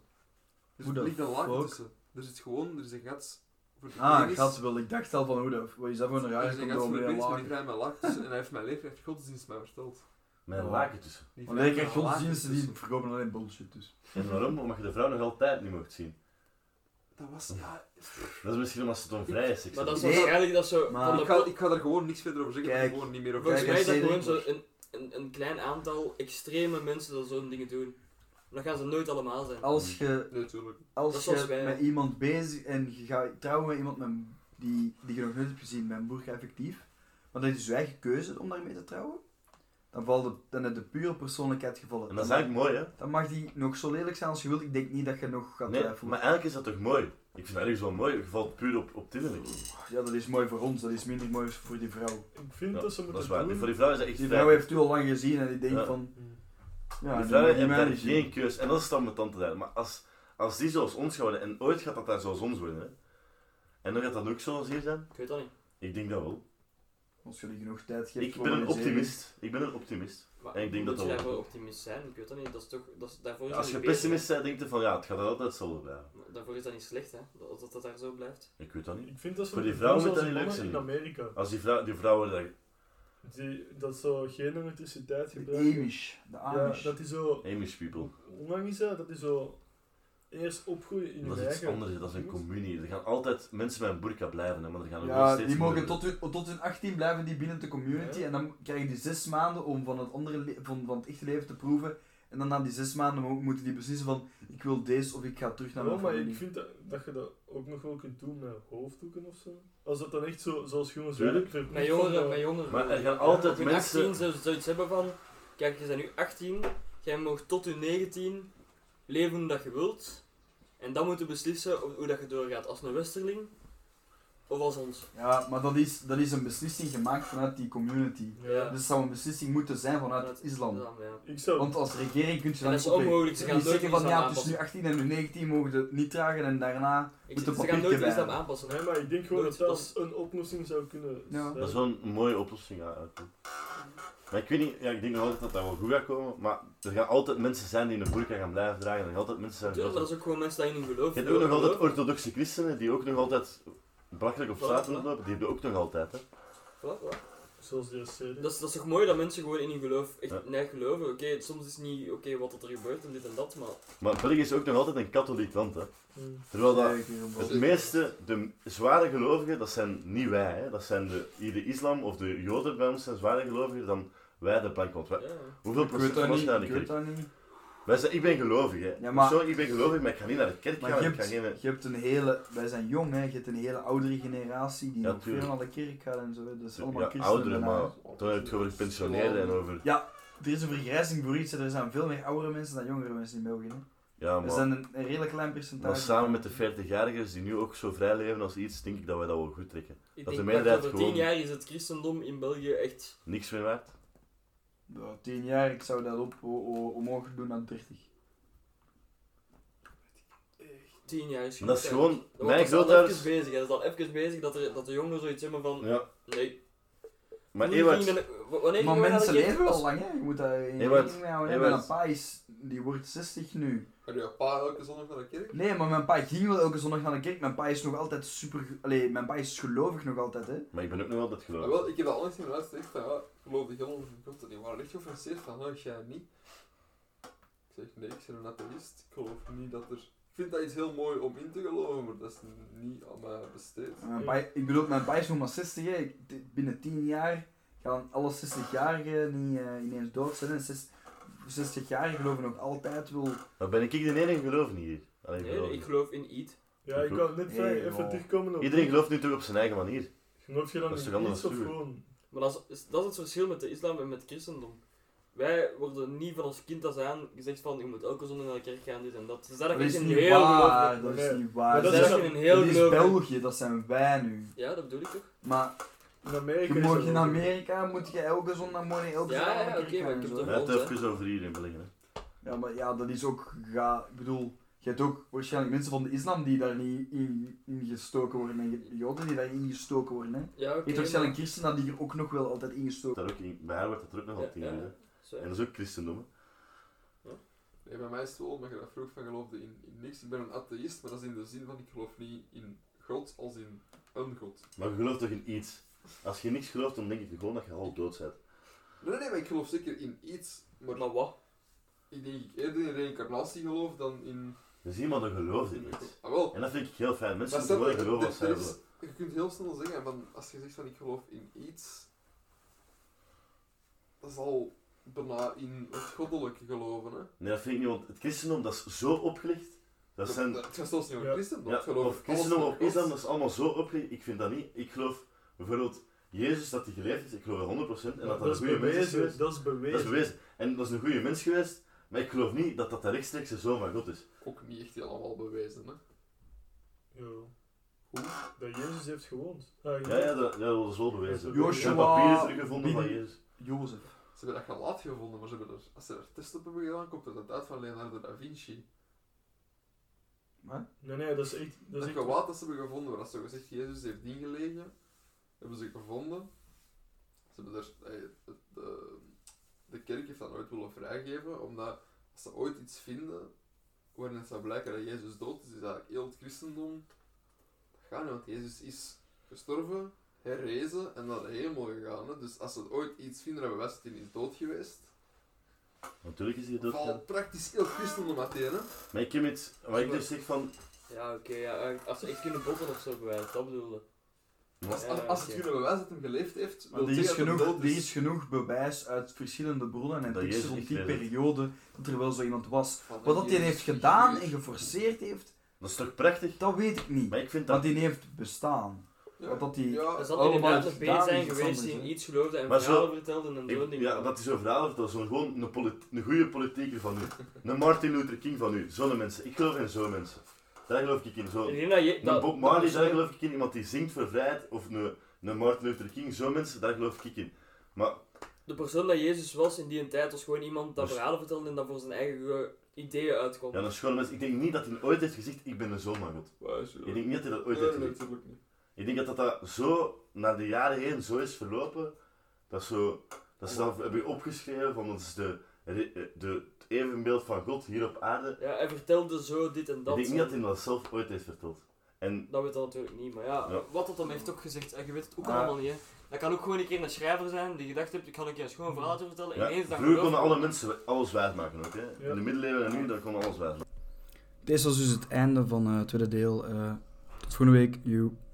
Speaker 2: Dus
Speaker 5: Hoe
Speaker 2: er dus-
Speaker 5: de
Speaker 2: ligt een laken
Speaker 5: fuck?
Speaker 2: tussen. Er zit gewoon, er is een gat Voor
Speaker 5: Ah,
Speaker 2: ik
Speaker 5: gat wel. Ik dacht al van hoe dat, wat is dat voor een
Speaker 2: Dus
Speaker 5: raar
Speaker 2: ik had voor
Speaker 5: condoom?
Speaker 2: de
Speaker 5: Heel
Speaker 2: maar
Speaker 5: laag.
Speaker 2: ik krijg mijn lak tussen en hij heeft mijn leven, heeft godsdienst mij verteld.
Speaker 4: Mijn
Speaker 5: Ja.
Speaker 4: laken tussen.
Speaker 2: Die
Speaker 5: Want ik
Speaker 2: vrouw
Speaker 5: krijg
Speaker 2: met een laken
Speaker 5: godsdiensten die
Speaker 2: tussen.
Speaker 5: verkopen alleen bullshit dus.
Speaker 4: En waarom? Omdat je de vrouw nog altijd niet mocht zien.
Speaker 2: Dat was... Ja,
Speaker 4: Dat is misschien omdat ze het onvrije seks
Speaker 3: Maar dat is
Speaker 5: Nee.
Speaker 3: waarschijnlijk dat zo...
Speaker 5: Maar-
Speaker 3: van de
Speaker 2: ik, ga,
Speaker 3: pol-
Speaker 2: ik ga daar gewoon niks verder over zeggen, ik
Speaker 5: Kijk,
Speaker 2: gewoon niet meer over
Speaker 5: kijk,
Speaker 3: volgens mij is dat
Speaker 5: Cedric
Speaker 3: gewoon zo
Speaker 5: was-
Speaker 3: een, een, een klein aantal extreme mensen dat zo'n dingen doen. Maar dat gaan ze nooit allemaal zijn.
Speaker 5: Als
Speaker 4: Mm.
Speaker 5: je,
Speaker 2: Nee, tuurlijk.
Speaker 5: als
Speaker 3: Dat is zoals
Speaker 5: je
Speaker 3: wij,
Speaker 5: met
Speaker 3: hè.
Speaker 5: iemand bezig en je gaat trouwen met iemand met, die, die je nog nooit hebt gezien, met een boerka effectief, maar dat is je eigen keuze om daarmee te trouwen, dan, valt de, dan heb je pure persoonlijkheid gevallen.
Speaker 4: En dat is eigenlijk mooi, hè?
Speaker 5: Dan mag die nog zo lelijk zijn als je wilt. Ik denk niet dat je nog gaat eh,
Speaker 4: Nee,
Speaker 5: twijfelen.
Speaker 4: maar eigenlijk is dat toch mooi? Ik vind dat ergens wel mooi. Je valt puur op, op tinderlijk.
Speaker 5: Ja, dat is mooi voor ons. Dat is minder mooi voor die vrouw.
Speaker 6: Ik vind
Speaker 4: Ja,
Speaker 6: dat ze
Speaker 4: Dat is
Speaker 6: moeten
Speaker 4: waar.
Speaker 6: doen...
Speaker 4: Voor die vrouw is dat echt
Speaker 5: Die
Speaker 4: fijn.
Speaker 5: vrouw heeft u al lang gezien en die denkt
Speaker 4: Ja.
Speaker 5: van...
Speaker 6: Hmm.
Speaker 5: Ja,
Speaker 4: die vrouw
Speaker 5: moet
Speaker 4: heeft
Speaker 5: mij
Speaker 4: daar
Speaker 5: niet zien.
Speaker 4: geen keus. En dat is dan mijn tante daar. Maar als, als die zoals ons gaan worden, en ooit gaat dat daar zoals ons worden, hè? En dan gaat dat ook zoals hier zijn?
Speaker 3: Ik weet dat niet.
Speaker 4: Ik denk dat wel.
Speaker 5: Als jullie genoeg tijd geven...
Speaker 4: Ik
Speaker 5: voor
Speaker 4: ben een
Speaker 5: organiseren.
Speaker 4: optimist. Ik ben een optimist.
Speaker 3: Maar
Speaker 4: En ik denk
Speaker 3: moet
Speaker 4: dat
Speaker 3: je
Speaker 4: dat
Speaker 3: daarvoor
Speaker 4: wel-
Speaker 3: optimist zijn? Ik weet dat niet. Dat is toch... Dat is, daarvoor is dat
Speaker 4: Als je
Speaker 3: niet beter,
Speaker 4: pessimist bent, denk je van ja, het gaat altijd hetzelfde blijven.
Speaker 3: hè. Maar Daarvoor is dat niet slecht, hè. Dat dat, dat daar zo blijft.
Speaker 4: Ik weet dat niet.
Speaker 6: Ik vind dat ze
Speaker 4: Voor die
Speaker 6: moeten doen
Speaker 4: vrouwen moet
Speaker 6: zoals
Speaker 4: dat niet
Speaker 6: die
Speaker 4: leuk
Speaker 6: mannen in
Speaker 4: zijn.
Speaker 6: Amerika.
Speaker 4: Als die vrouw, die vrouw worden, dan-
Speaker 6: Die, dat zo geen elektriciteit
Speaker 5: De
Speaker 6: gebruiken.
Speaker 5: Amish. De
Speaker 6: Ja,
Speaker 5: Amish.
Speaker 6: dat is zo...
Speaker 4: Amish people.
Speaker 6: Hoe lang is dat? Dat is zo... Eerst opgroeien in
Speaker 4: Dat
Speaker 6: hun
Speaker 4: is iets
Speaker 6: eigen...
Speaker 4: anders, hè. dat is een
Speaker 6: ding.
Speaker 4: communie. Er gaan altijd mensen met een burka blijven, hè, maar er gaan ook nog
Speaker 5: Ja,
Speaker 4: steeds
Speaker 5: die mogen
Speaker 4: minder-
Speaker 5: tot hun, tot hun 18 blijven die binnen de community
Speaker 6: Ja.
Speaker 5: en dan krijgen die 6 maanden om van het, andere le- van, van het echte leven te proeven. En dan na die 6 maanden mo- moeten die beslissen van ik wil deze of ik ga terug naar
Speaker 3: Oh,
Speaker 6: Ja,
Speaker 5: mijn
Speaker 6: maar
Speaker 5: familie.
Speaker 6: ik vind dat, dat je dat ook nog wel kunt doen met hoofddoeken of zo. Als dat dan echt zo, zoals jongens
Speaker 4: Tuurlijk.
Speaker 6: werken.
Speaker 3: Met
Speaker 6: verplicht van,
Speaker 3: jongeren,
Speaker 6: eh,
Speaker 3: met jongeren.
Speaker 4: Maar er gaan
Speaker 3: Op
Speaker 4: altijd
Speaker 3: hun
Speaker 4: mensen...
Speaker 3: 18 zou ze zoiets hebben van... Kijk, je bent nu 18. Jij mag tot je 19 leven hoe dat je wilt. En dan moeten beslissen hoe- hoe dat je doorgaat. Als een westerling. Of als ons.
Speaker 5: Ja, maar dat is, dat is een beslissing gemaakt vanuit die community.
Speaker 3: Ja.
Speaker 5: Dus het zou een beslissing moeten zijn vanuit het islam.
Speaker 3: ja.
Speaker 6: Ik zou...
Speaker 5: Want als regering kun je
Speaker 3: En
Speaker 5: dan
Speaker 3: dat is
Speaker 5: niet ophebben.
Speaker 3: onmogelijk. Ze
Speaker 5: Je
Speaker 3: gaan
Speaker 5: kunt
Speaker 3: nooit
Speaker 5: zeggen van
Speaker 3: iets
Speaker 5: ja,
Speaker 3: aan
Speaker 5: tussen nu 18 en nu 19 mogen ze het niet dragen en daarna...
Speaker 3: Ik,
Speaker 5: Moeten
Speaker 3: ze gaan nooit
Speaker 5: papiertje
Speaker 3: iets aan
Speaker 5: bij.
Speaker 3: aanpassen. Hè?
Speaker 6: Nee, maar ik denk gewoon dat
Speaker 3: Nooit
Speaker 6: dat een oplossing zou kunnen
Speaker 5: Ja.
Speaker 6: zijn.
Speaker 4: Dat is wel een mooie oplossing, ja. eigenlijk. Maar ik weet niet, ja, ik denk nog altijd dat dat wel goed gaat komen, maar er gaan altijd mensen zijn die een burka gaan blijven dragen. Er gaan altijd mensen zijn die
Speaker 3: Tuurlijk, maar dat
Speaker 4: altijd...
Speaker 3: is ook gewoon mensen die niet geloven.
Speaker 4: Je hebt ook nog altijd
Speaker 3: Geloven.
Speaker 4: orthodoxe christenen die ook nog altijd belachelijk op
Speaker 3: Voilà,
Speaker 4: straat
Speaker 3: voilà.
Speaker 4: rondlopen. Die hebben ook nog altijd, hè.
Speaker 3: Voilà, voilà.
Speaker 6: Zoals die serie.
Speaker 3: Dat is, dat is toch mooi dat mensen gewoon in hun geloof echt
Speaker 4: Ja.
Speaker 3: nee geloven. Oké, soms is niet oké wat dat er gebeurt en dit en dat, maar
Speaker 4: Maar België is ook nog altijd een katholiek land, hè.
Speaker 6: Hmm.
Speaker 4: Terwijl dat...
Speaker 5: Ja, ik weet het wel.
Speaker 4: Het meeste, de zware gelovigen, dat zijn niet wij. Hè. Dat zijn de, hier de islam of de joden bij ons zijn zware gelovigen dan wij de plank. Want wij-
Speaker 3: ja.
Speaker 4: hoeveel
Speaker 5: Ik weet
Speaker 4: procent
Speaker 5: dat
Speaker 4: van ons
Speaker 5: niet,
Speaker 4: gaan naar
Speaker 5: ik
Speaker 4: de
Speaker 5: weet
Speaker 4: kerk?
Speaker 5: dat niet.
Speaker 4: Wij zijn, ik ben gelovig, hè.
Speaker 5: Ja, maar-
Speaker 4: Persoonlijk, ik ben gelovig, maar ik ga niet naar de kerk
Speaker 5: Maar
Speaker 4: gaan.
Speaker 5: je
Speaker 4: Ik ga
Speaker 5: hebt,
Speaker 4: geen...
Speaker 5: je hebt een hele... Wij zijn jong, hè. Je hebt een hele oudere generatie die
Speaker 4: Ja,
Speaker 5: nog
Speaker 4: tuurlijk.
Speaker 5: veel naar de kerk gaat en zo. hè. Dat is allemaal
Speaker 4: Ja,
Speaker 5: christenen.
Speaker 4: ouderen,
Speaker 5: bijna.
Speaker 4: maar toen heb je het over gepensioneerden en over...
Speaker 5: Er is een vergrijzing voor iets. hè. Er zijn veel meer oudere mensen dan jongere mensen in België. hè.
Speaker 4: Ja,
Speaker 5: Er
Speaker 4: maar,
Speaker 5: zijn een, een redelijk klein
Speaker 4: maar
Speaker 5: percentage.
Speaker 4: samen met de 40-jarigers die nu ook zo vrij leven als iets, denk ik dat wij dat wel goed trekken.
Speaker 3: Ik
Speaker 4: de
Speaker 3: denk dat
Speaker 4: meerderheid
Speaker 3: over tien
Speaker 4: gewoon-
Speaker 3: jaar is het christendom in België echt...
Speaker 4: Niks meer waard.
Speaker 5: Ja, 10 jaar, ik zou dat op, o- o- omhoog doen naar 30.
Speaker 3: Tien jaar is
Speaker 4: Maar dat is
Speaker 3: goed,
Speaker 4: gewoon...
Speaker 3: eigenlijk. Want
Speaker 4: Mijn
Speaker 3: dat is al
Speaker 4: grootouders...
Speaker 3: even bezig, hè. dat is al even bezig dat, er, dat de jongeren zoiets hebben van...
Speaker 4: Ja.
Speaker 3: Nee,
Speaker 4: Maar
Speaker 3: wanneer
Speaker 4: Ewart...
Speaker 3: gingen we- wanneer gingen
Speaker 5: Maar
Speaker 3: we naar de
Speaker 5: mensen
Speaker 3: kerk?
Speaker 5: leven wel
Speaker 3: Als-
Speaker 5: lang, hè? Je moet daar in
Speaker 4: Ewout,
Speaker 5: rekening mee houden. hè.
Speaker 4: Ewout.
Speaker 5: Mijn pa is, die wordt 60 nu.
Speaker 2: Maar ja, pa elke zondag naar de kerk?
Speaker 5: Nee, maar mijn pa ging wel elke zondag naar de kerk. Mijn pa is nog altijd super. Allee, mijn pa is gelovig nog altijd, hè?
Speaker 4: Maar ik ben ook nog altijd
Speaker 2: Maar
Speaker 4: gelovig.
Speaker 2: wel, ik heb dat alles in mijn gezegd van ja, ik geloof de geloof in God en die waren echt geoffenseerd van nou, jij niet. Ik zeg nee, ik ben een atheïst. Ik geloof niet dat er... Ik vind dat iets heel mooi om in te geloven, maar dat is niet aan mij besteed.
Speaker 5: Mijn pa, ik bedoel, mijn pa is nog maar 60, hè? Ik- t- Binnen 10 jaar gaan alle 60-jarigen niet eh, ineens dood zijn. hè. Zes- 60-jarigen geloven nog altijd wel.
Speaker 4: Maar ben ik de enige gelovige hier? Allee,
Speaker 3: Nee,
Speaker 4: gelovig.
Speaker 3: ik geloof in iets.
Speaker 6: Ja, ik wou net zeggen,
Speaker 5: Hey,
Speaker 6: even
Speaker 5: wow.
Speaker 6: terugkomen op...
Speaker 4: Iedereen gelooft nu toch op zijn eigen manier.
Speaker 6: Geloof je dan
Speaker 4: Dat is
Speaker 6: in
Speaker 4: toch anders
Speaker 6: iets of
Speaker 4: natuurlijk.
Speaker 6: gewoon...
Speaker 3: Maar dat is- is, dat is het verschil met de islam en met het christendom. Wij worden niet van ons kind af aan gezegd van, je moet elke zondag naar de kerk gaan, dit en dat. Ze zijn
Speaker 5: Dat
Speaker 3: echt
Speaker 5: is
Speaker 3: een
Speaker 5: niet
Speaker 3: heel geloof.
Speaker 5: waar. Dat is
Speaker 6: Nee.
Speaker 5: niet
Speaker 6: Maar
Speaker 5: waar.
Speaker 3: Dat
Speaker 6: Dat
Speaker 3: is
Speaker 6: is
Speaker 3: echt
Speaker 6: zo-
Speaker 3: een heel
Speaker 5: dit is
Speaker 3: geloof.
Speaker 5: België, dat zijn wij nu.
Speaker 3: Ja, dat bedoel ik toch?
Speaker 5: Maar
Speaker 6: In Amerika
Speaker 5: je
Speaker 6: is
Speaker 5: mag
Speaker 6: dat
Speaker 5: in
Speaker 6: ook-
Speaker 5: Amerika moet je elke zondagmorgen elke
Speaker 3: Ja,
Speaker 5: zondag
Speaker 3: ja,
Speaker 5: naar de kerk
Speaker 3: oké, maar
Speaker 5: gaan
Speaker 3: ik
Speaker 5: en
Speaker 3: heb
Speaker 5: zo.
Speaker 3: toch-
Speaker 4: Hij heeft
Speaker 3: Ons,
Speaker 4: het even over iedereen beleggen. Hè.
Speaker 5: Ja, maar ja, dat is ook ga. Ik bedoel, je hebt ook waarschijnlijk mensen van de islam die daar niet in, in gestoken worden en je- joden die daar in gestoken worden. Hè. Je
Speaker 3: Ja, oké.
Speaker 5: hebt waarschijnlijk christenen die er ook nog wel altijd ingestoken
Speaker 4: Daar ook in, bij haar wordt dat er ook nog
Speaker 3: Ja,
Speaker 4: al tien
Speaker 3: ja.
Speaker 4: uur, hè.
Speaker 3: Zo.
Speaker 4: En dat is ook christendom. hè.
Speaker 2: Nee, bij mij is het wel, maar je dat vroeg van geloofde in, in niks. Ik ben een atheïst, maar dat is in de zin van ik geloof niet in God als in een god.
Speaker 4: Maar je gelooft toch in iets? Als je niks gelooft, dan denk ik gewoon dat je half dood bent.
Speaker 2: Nee, nee, nee, maar ik geloof zeker in iets, maar
Speaker 3: Maar wat?
Speaker 2: ik denk ik eerder in reïncarnatie geloof dan in...
Speaker 4: Dus iemand dat gelooft in iets.
Speaker 2: Ah, wel.
Speaker 4: En dat vind ik heel fijn. Mensen
Speaker 2: Maar stel
Speaker 4: moeten wel
Speaker 2: dat-
Speaker 4: geloven
Speaker 2: dit-
Speaker 4: wat zij
Speaker 2: dit is-
Speaker 4: willen.
Speaker 2: Je kunt heel snel zeggen, van, als je zegt van ik geloof in iets, dat is al bijna in het goddelijke geloven. Hè?
Speaker 4: Nee, dat vind ik niet, want het christendom dat is zo opgelicht. Dat zijn...
Speaker 2: Het gaat zelfs niet om
Speaker 6: Ja.
Speaker 2: christendom,
Speaker 4: Ja,
Speaker 2: het geloof
Speaker 4: of
Speaker 2: in
Speaker 4: christendom
Speaker 2: alles
Speaker 4: of
Speaker 2: wat
Speaker 4: islam,
Speaker 2: God-
Speaker 4: dat is allemaal zo opgelicht. Ik vind dat niet. Ik geloof bijvoorbeeld Jezus dat hij geleefd is. Ik geloof dat 100% en dat dat een
Speaker 6: is
Speaker 4: goede mens is geweest.
Speaker 6: bewezen. Dat is
Speaker 4: Dat is
Speaker 6: bewezen.
Speaker 4: bewezen. En dat is een goede mens geweest, maar ik geloof niet dat dat de rechtstreekse zoon van God is.
Speaker 2: ook niet echt helemaal bewezen. Hè?
Speaker 6: Jawel.
Speaker 2: Hoe?
Speaker 6: Dat Jezus heeft gewoond. Ah,
Speaker 4: Ja, ja, dat, ja, dat is wel bewezen.
Speaker 6: Joshua
Speaker 4: Er zijn papieren teruggevonden van Jezus.
Speaker 5: Jozef.
Speaker 2: Ze hebben dat gelaat gevonden, maar ze hebben er, als ze er testen op hebben gedaan, komt het uit van Leonardo da Vinci.
Speaker 6: Nee, nee, dat is echt...
Speaker 2: Dat,
Speaker 6: Dat is echt...
Speaker 2: gewaad dat ze hebben gevonden, waar dat ze gezegd Jezus heeft ingelegen, hebben ze gevonden. Ze hebben er, eh, het- de, de kerk heeft dat nooit willen vrijgeven, omdat als ze ooit iets vinden waarin het zou blijken dat Jezus dood is, is eigenlijk heel het christendom. Dat gaat niet, want Jezus is gestorven, herrezen en naar de hemel gegaan. Hè. Dus als ze ooit iets vinden dat bewijst dat hij is dood geweest,
Speaker 4: Natuurlijk is hij dood. gegaan.
Speaker 2: valt praktisch heel het christendom uiteen. Hè.
Speaker 4: Maar ik heb iets, wat ik dus zeg van,
Speaker 3: Ja, oké, ja, eh, als ze echt kunnen botten of zo bewijzen, dat bedoelde.
Speaker 2: Als,
Speaker 3: Ja,
Speaker 2: als, als het
Speaker 3: oké.
Speaker 2: kunnen bewijzen dat hem geleefd heeft,
Speaker 5: Maar
Speaker 2: wil
Speaker 5: er is,
Speaker 2: zeggen dat hij
Speaker 5: genoeg,
Speaker 2: dood dus-
Speaker 5: er is genoeg bewijs uit verschillende bronnen en
Speaker 4: Dat
Speaker 5: teksten
Speaker 4: Jezus
Speaker 5: rond
Speaker 4: niet
Speaker 5: die
Speaker 4: leefde.
Speaker 5: periode dat er wel zo iemand was.
Speaker 2: Van,
Speaker 5: Wat dat hij
Speaker 2: Jezus
Speaker 5: heeft
Speaker 2: is
Speaker 5: gedaan en
Speaker 2: geweest.
Speaker 5: geforceerd heeft,
Speaker 4: dat is toch prachtig?
Speaker 5: dat weet ik niet.
Speaker 4: Maar ik vind
Speaker 5: Want
Speaker 4: dat...
Speaker 5: die heeft bestaan.
Speaker 2: Ja.
Speaker 5: Wat dat die-
Speaker 2: Ja,
Speaker 3: Er zal
Speaker 5: allemaal
Speaker 3: inderdaad een
Speaker 5: gedaan
Speaker 3: B zijn
Speaker 5: oh, is iets
Speaker 3: geweest die
Speaker 5: anders,
Speaker 3: in
Speaker 5: hè.
Speaker 3: iets geloofde en
Speaker 4: Maar zo-
Speaker 3: verhalen vertelde en zo.
Speaker 4: Ik,
Speaker 3: niet
Speaker 4: ja,
Speaker 3: meer.
Speaker 4: dat is zo'n verhaal vertelt. Zo'n gewoon een, polit- een goede politieker van u. Een Martin Luther King van u. Zo'n mensen. Ik geloof in zo'n mensen. Daar geloof ik in. Zo.
Speaker 3: Ik
Speaker 4: Een
Speaker 3: denk dat je- dat-
Speaker 4: Bob Marley,
Speaker 3: dat-
Speaker 4: daar geloof ik in. Iemand die zingt voor vrijheid. Of een, een Martin Luther King. Zo'n mensen, daar geloof ik in. Maar
Speaker 3: De persoon dat Jezus was in die tijd was gewoon iemand dat
Speaker 4: Dus-
Speaker 3: verhalen vertelde en dat voor zijn eigen eh, ideeën uitkwam.
Speaker 4: ja, een schone mens. Ik denk niet dat hij ooit heeft gezegd, ik ben een zoon van God.
Speaker 2: Waar is je
Speaker 4: Ik denk niet dat hij dat
Speaker 2: Nee,
Speaker 4: ooit heeft
Speaker 2: nee,
Speaker 4: gezegd.
Speaker 2: natuurlijk niet.
Speaker 4: Ik denk dat dat, dat zo, na de jaren heen, zo is verlopen. Dat, zo, dat ze dat hebben opgeschreven. Van dat is de, de, het evenbeeld van God hier op aarde.
Speaker 3: Ja, hij vertelde zo dit en dat. eh,
Speaker 4: ik denk niet dat hij dat zelf ooit heeft verteld. En
Speaker 3: Dat weet dat natuurlijk niet, maar ja,
Speaker 4: Ja.
Speaker 3: wat dat dan heeft ook gezegd, eh, je weet het ook
Speaker 5: Maar-
Speaker 3: allemaal niet. Hè. Dat kan ook gewoon een keer een schrijver zijn die gedacht heeft, ik ga een keer een schoon verhaaltje vertellen.
Speaker 4: Mm. ja,
Speaker 3: Ineens dat
Speaker 4: vroeger
Speaker 3: geloof-
Speaker 4: konden alle mensen alles wijsmaken ook. Hè?
Speaker 6: Ja.
Speaker 4: In de middeleeuwen en nu, daar konden alles wijsmaken.
Speaker 1: Dit was dus het einde van eh, het tweede deel. eh, tot volgende week. You.